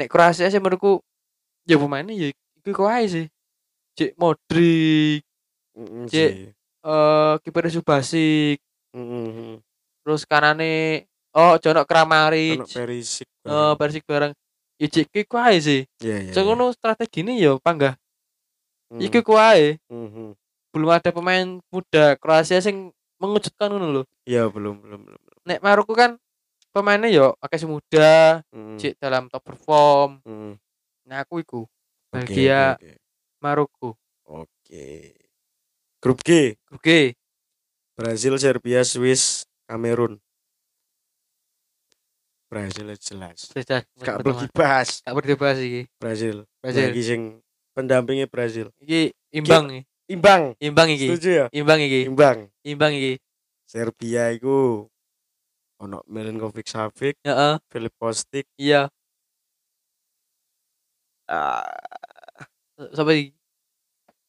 D: nek Kroasia sih menurutku ya pemainnya ya iku iku ae sih Cek Modric,
B: Mm-mm
D: Cek.
B: sih.
D: eh kiper Subasic,
B: Mm-mm.
D: terus kanane oh Jono Kramaric,
B: Ono Perisik.
D: eh Persik bareng. Ya cek iku iku ae sih.
B: Ya ya.
D: So ngono strategine ya panggah.
B: Mm.
D: Iku iku ae.
B: Mhm.
D: Belum ada pemain muda Kroasia sing mengejutkan ngono lho.
B: Ya belum belum belum. belum.
D: Nek Maroko kan pemainnya yo akeh sing muda,
B: Mm.
D: cek dalam top perform.
B: Mm.
D: Nah aku iku
B: Oke, ya.
D: Belgia,
B: oke,
D: Maroko.
B: Oke. Oke. Grup G,
D: Oke,
B: Brazil, Serbia, Swiss, Kamerun. Brazil ya jelas.
D: sudah.
B: Gak perlu dibahas
D: Gak berdebat sih.
B: Brazil.
D: Brazil.
B: Lagi sing pendampingnya Brazil.
D: Iki imbang iki.
B: Imbang.
D: Imbang iki.
B: Setuju ya?
D: Imbang iki.
B: Imbang.
D: Imbang iki.
B: Serbia iku ono Milinkovic Savic,
D: Heeh,
B: Filip Kostic,
D: iya.
B: ah,
D: Sapa iki?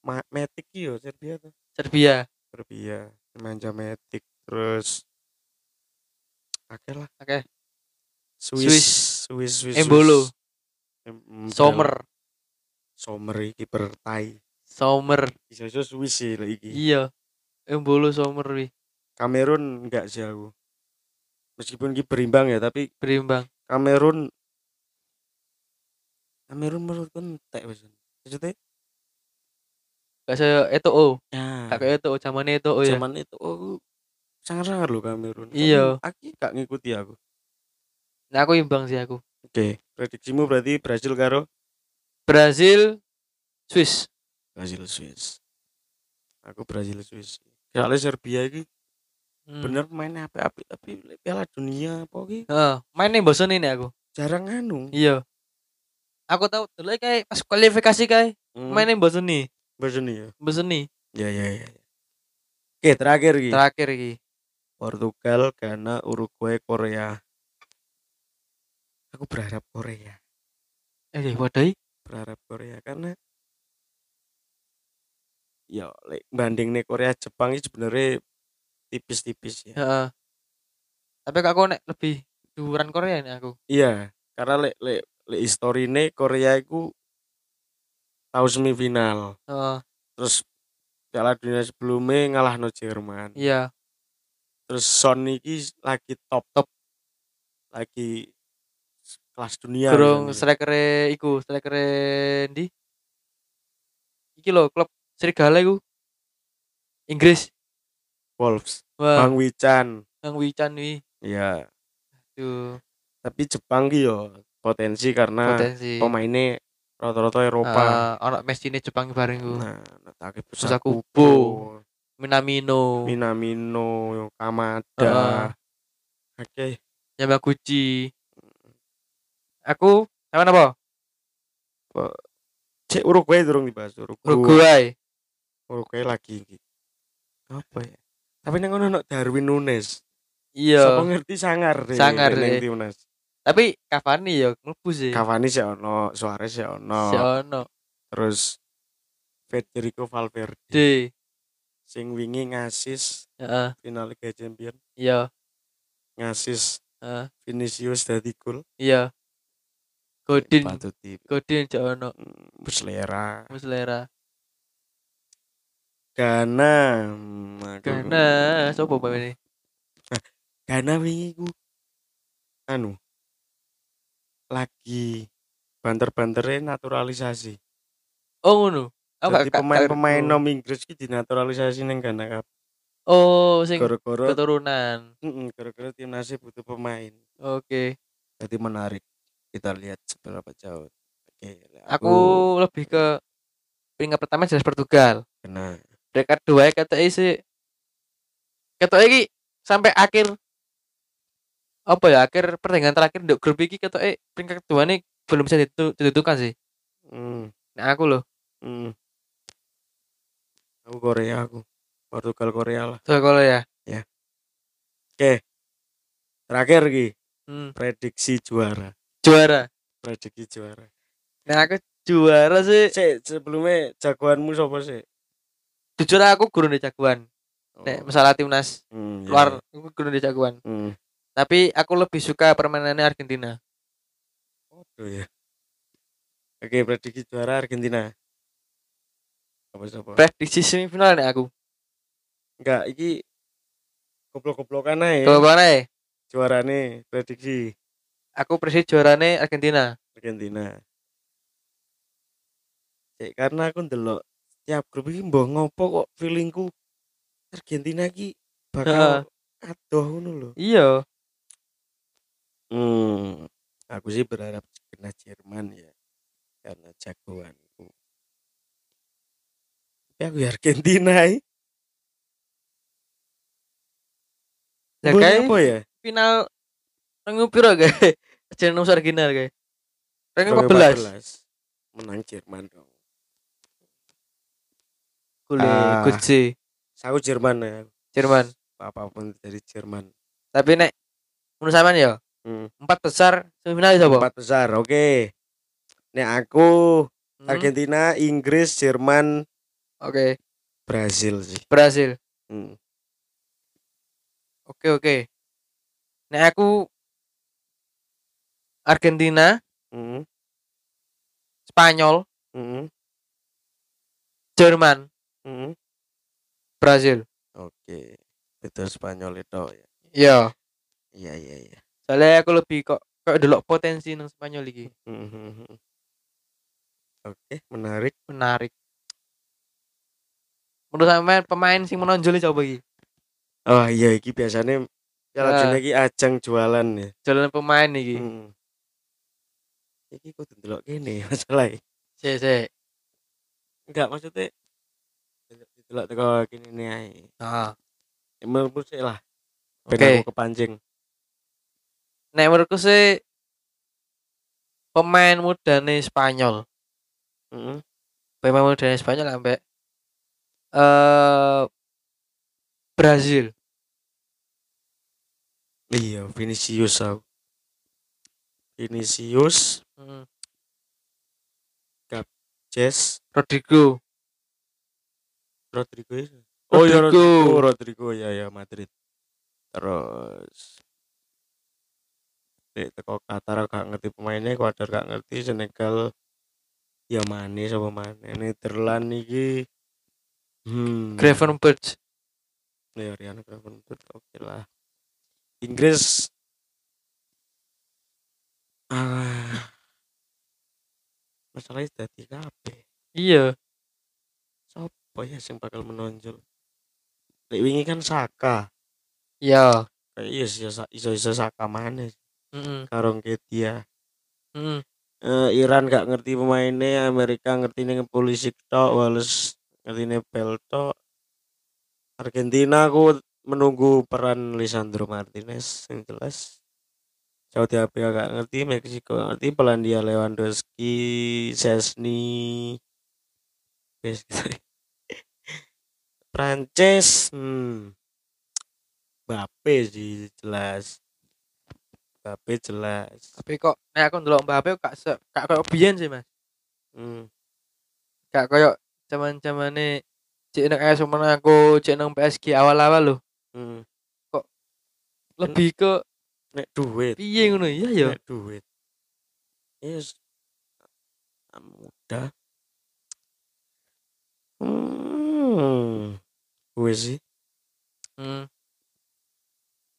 B: Ma- Matic iki yo Serbia tuh.
D: Serbia.
B: Serbia, Nemanja Matic terus akeh lah.
D: Akeh.
B: Swiss, Swiss, Swiss.
D: Embolo.
B: Swiss. Em- em-
D: Sommer.
B: Sommer iki bertai.
D: Sommer.
B: Bisa iso Swiss sih lho iki.
D: Iya. Embolo Sommer wi.
B: Kamerun enggak sih aku. Meskipun iki berimbang ya, tapi
D: Berimbang.
B: Kamerun Kamerun menurutku entek wis. Maksudnya
D: Gak saya Eto'o.
B: nah,
D: Gak kayak Eto'o zamane Eto'o ya.
B: zaman itu oh, sangat-sangat loh Kamerun. Tapi
D: Iya.
B: Aku gak ngikuti aku.
D: Nah aku imbang sih aku.
B: Oke, prediksimu berarti Brazil karo
D: Brazil Swiss.
B: Brazil Swiss. Aku Brazil Swiss. Soalnya Serbia ini
D: Hmm.
B: bener mainnya api-api tapi lek Piala Dunia apa ki
D: Heeh, mainnya bosan ini aku.
B: jarang anu.
D: Iya. Aku tahu dulu kayak pas kualifikasi kayak
B: Hmm.
D: mainnya Iya, bosan nih.
B: Brazil ya.
D: Bosan nih.
B: Ya ya ya. Oke, terakhir iki.
D: Terakhir iki.
B: Portugal, Ghana, Uruguay, Korea. Aku berharap Korea,
D: Eh, wadai.
B: berharap Korea karena ya lek banding nih Korea Jepang ini sebenarnya tipis-tipis ya.
D: Heeh. Tapi kok aku nek lebih duran Korea nih aku.
B: Iya, karena lek lek lek historine Korea iku tahu semifinal.
D: Heeh,
B: Terus Piala Dunia sebelumnya ngalahno Jerman.
D: iya.
B: Terus Son iki lagi top top lagi s- kelas dunia. kan ya,
D: Gerung
B: misalnya.
D: striker e iku, striker e ndi? Iki lho klub Serigala iku. Inggris.
B: Wolves,
D: Wah,
B: Bang Wican.
D: Bang Wican wi.
B: Iya,
D: Tuh,
B: tapi Jepang ki yo potensi karena
D: potensi.
B: pemainnya rata-rata Nah, Eropa.
D: Eh, Ono Messi Jepang bareng iku.
B: Nah, Natake
D: Kubo, Minamino,
B: Minamino,
D: Heeh.
B: Kamada. Oke.
D: Yamaguchi. Aku sama apa?
B: Cek Uruguay durung dibahas Uruguay.
D: Uruguay.
B: Uruguay lagi iki. Apa ya? Tapi nang ngono ono Darwin Nunes. Sapa
D: Iya.
B: ngerti sangar deh,
D: Sangar
B: neng
D: deh.
B: timnas.
D: Tapi Cavani ya mlebu sih.
B: Cavani sih ono, Suarez sih ono,
D: Si ono.
B: terus Federico Valverde
D: D.
B: sing wingi ngasis
D: Heeh,
B: final Liga Champions,
D: iya.
B: ngasis
D: Heeh,
B: Vinicius dadi gol.
D: iya. Godin,
B: Patut di
D: Godin cok ono
B: mm, berselera.
D: muslera.
B: Ghana. mm, aduh.
D: Karena sopo pemain ini?
B: Ghana wingi ku anu lagi banter-bantere naturalisasi.
D: Oh ngono. Aku gak-
B: Jadi
D: gak- gak
B: pemain-pemain
D: ngerti.
B: nom Inggris ki dinaturalisasi ning Ghana kap.
D: Oh, sing
B: Gara-gara
D: keturunan.
B: Mm-mm, gara-gara timnas butuh pemain.
D: Oke.
B: Jadi menarik. Kita lihat seberapa jauh. Oke,
D: Aku lebih ke peringkat pertama jelas Portugal. ya,
B: kena
D: Peringkat dua kata isi kata iki sampai akhir apa ya akhir pertandingan terakhir untuk grup iki kata peringkat kedua nih belum bisa ditu- ditentukan sih
B: Hmm,
D: nah aku loh
B: hmm. Aku Korea aku. Portugal Korea lah.
D: soal kalau ya
B: Terakhir Ki,
D: hmm,
B: prediksi juara.
D: juara
B: Prediksi juara.
D: nah aku juara sih
B: Sik, sebelumnya jagoanmu sapa sih?
D: jujur aku gurun di jagoan nek masalah timnas
B: Hmm, Oh. iya,
D: luar aku gurun di jagoan
B: iya. Hmm.
D: tapi aku lebih suka permainannya Argentina
B: Aduh ya. Oke, prediksi juara Argentina. Apa siapa?
D: prediksi semifinal nih aku
B: Enggak, iki goblok-goblokan ae.
D: kalau mana ya
B: Juarane prediksi
D: aku prediksi juaranya Argentina
B: Argentina. Cek karena aku ndelok tiap grup iki mbok ngopo kok feelingku Argentina iki bakal adoh ngono lho.
D: iya
B: Hmm, aku sih berharap kena Jerman ya karena jagoanku. Tapi aku ya Argentina. eh.
D: ya
B: Mbok
D: kayak
B: apa ya?
D: final rangu piro [LAUGHS] guys jeneng nomor Argentina guys rangu
B: 14.
D: 14
B: Menang Jerman dong.
D: Kule,
B: Ah.
D: kunci
B: Saya Jerman ya.
D: e, Jerman.
B: Apapun dari Jerman.
D: Tapi nek menurut sampean ya,
B: Hmm.
D: empat besar semifinal ya sapa?
B: Empat besar, oke. Nek aku
D: Hmm,
B: Argentina, Inggris, Jerman,
D: Oke,
B: Brazil sih.
D: berhasil.
B: Hmm.
D: Oke, oke. Nek aku Argentina,
B: Hmm.
D: Spanyol,
B: Hmm.
D: Jerman,
B: Hmm.
D: Brazil.
B: Oke. Betul Spanyol itu ya.
D: Iya.
B: Iya iya iya.
D: Soalnya aku lebih kok kok delok potensi nang Spanyol iki.
B: Mhm. Oke, menarik.
D: Menarik. Menurut sampean pemain sing menonjol coba iki.
B: Oh iya, iki biasanya Piala
D: Ah.
B: Dunia iki ajang jualan ya.
D: Jalan pemain iki.
B: Hmm. Iki kudu ndelok kene [LAUGHS] masalah.
D: Sik, sik.
B: Enggak maksudnya delok teko kene ne ae.
D: Heeh.
B: Ya, Menurutku sih lah. Ben
D: Oke.
B: aku kepancing.
D: Nek menurutku sih pemain mudane Spanyol.
B: Heeh.
D: pemain muda Spanyol sampai eh Brazil
B: Iya, Vinicius aku. Vinicius, Jess,
D: Rodrigo
B: Rodrigo. ya? Oh iya
D: Rodrigo.
B: Rodrigo, Rodrigo ya ya Madrid. Terus Dek teko Qatar gak ngerti pemainnya, Kuadar gak ngerti, Senegal ya Mane sama Mane, Nederland iki. Hmm.
D: Gravenberch
B: Ya Rian Gravenberch oke lah. Inggris Ah. Masalahnya dadi kabeh.
D: iya
B: Sopo ya sing bakal menonjol? Lek wingi kan Saka.
D: iya
B: kayak iya sih iso iso, iso saka maneh
D: Mm-mm.
B: karong Ketia
D: Mm-mm.
B: Eh, Iran gak ngerti pemainnya Amerika ngerti nih polisi tok Wales ngerti nih Belto Argentina aku menunggu peran Lisandro Martinez yang jelas Saudi Arabia gak ngerti Meksiko gak ngerti Polandia Lewandowski Sesni Wes, gitu. [LAUGHS] Prancis hmm Mbappe sih jelas Mbappe jelas
D: tapi kok nek aku ndelok Mbappe kok gak se gak koyo biyen sih Mas
B: hmm.
D: gak koyo zaman-zamane cek nang AS Monaco cek nang PSG awal-awal loh
B: Hmm.
D: lebih ke
B: Nek duit.
D: piye ngono iya ya
B: Nek duit. Iya, Yes. Mudah. Hmm. Gue sih
D: mm.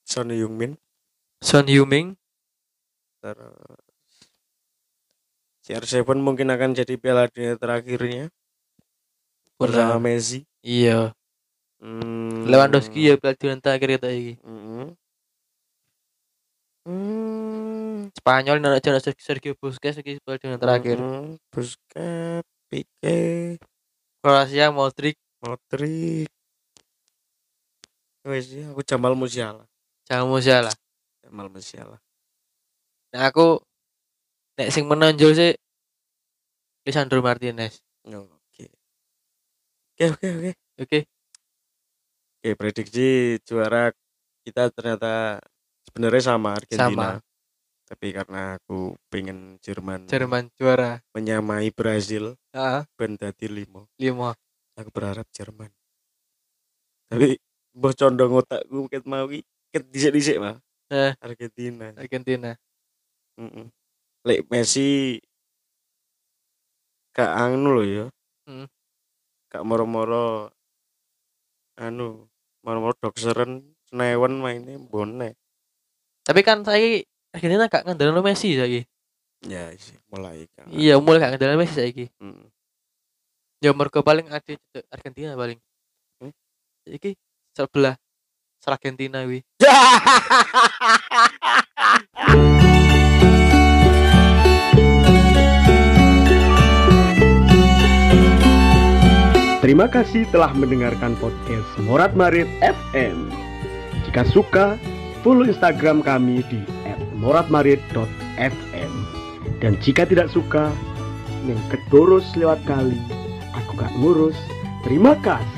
B: Son Heung-min
D: Son Heung-min
B: terus CR7 mungkin akan jadi piala dunia terakhirnya bersama Messi.
D: iya
B: Hmm.
D: Lewandowski ya pelajaran terakhir kita iki
B: Mm-mm. Hmm.
D: Spanyol nek ana Sergio Busquets iki pelajaran terakhir
B: Mm-mm. Hmm. Busquets, Pique,
D: Kroasia Modric
B: Modric. Wes ya, aku Jamal Musiala.
D: Jangan Musiala.
B: Jamal Musiala.
D: Nah aku nek sing menonjol sih Lisandro Martinez
B: Ya, Oke. Oke oke oke.
D: oke
B: Oke prediksi juara kita ternyata sebenarnya sama Argentina. Tapi karena aku pengen Jerman,
D: Jerman juara
B: menyamai Brazil
D: Heeh,
B: ben dadi limo.
D: lima
B: Aku berharap Jerman. Tapi mbah condong otakku ket mau ki ket dhisik-dhisik mah.
D: Eh.
B: Argentina.
D: Argentina
B: Heeh. Lek Messi kak anu lho ya. Hmm.
D: Mm.
B: Kak moro-moro anu, moro-moro dokseran senewen mainnya bonek.
D: tapi kan saya Argentina gak ngandelin Messi saya
B: Ya sih, mulai kan.
D: iya mulai gak ngandelin Messi saya
B: Mm.
D: ya mergo paling ada cedek Argentina paling
B: Hmm?
D: iki sebelah ser Argentina wi
C: Terima kasih telah mendengarkan podcast Morat Marit FM. Jika suka, follow Instagram kami di @moratmarit.fm. Dan jika tidak suka, yang kedurus lewat kali, aku gak ngurus. Terima kasih.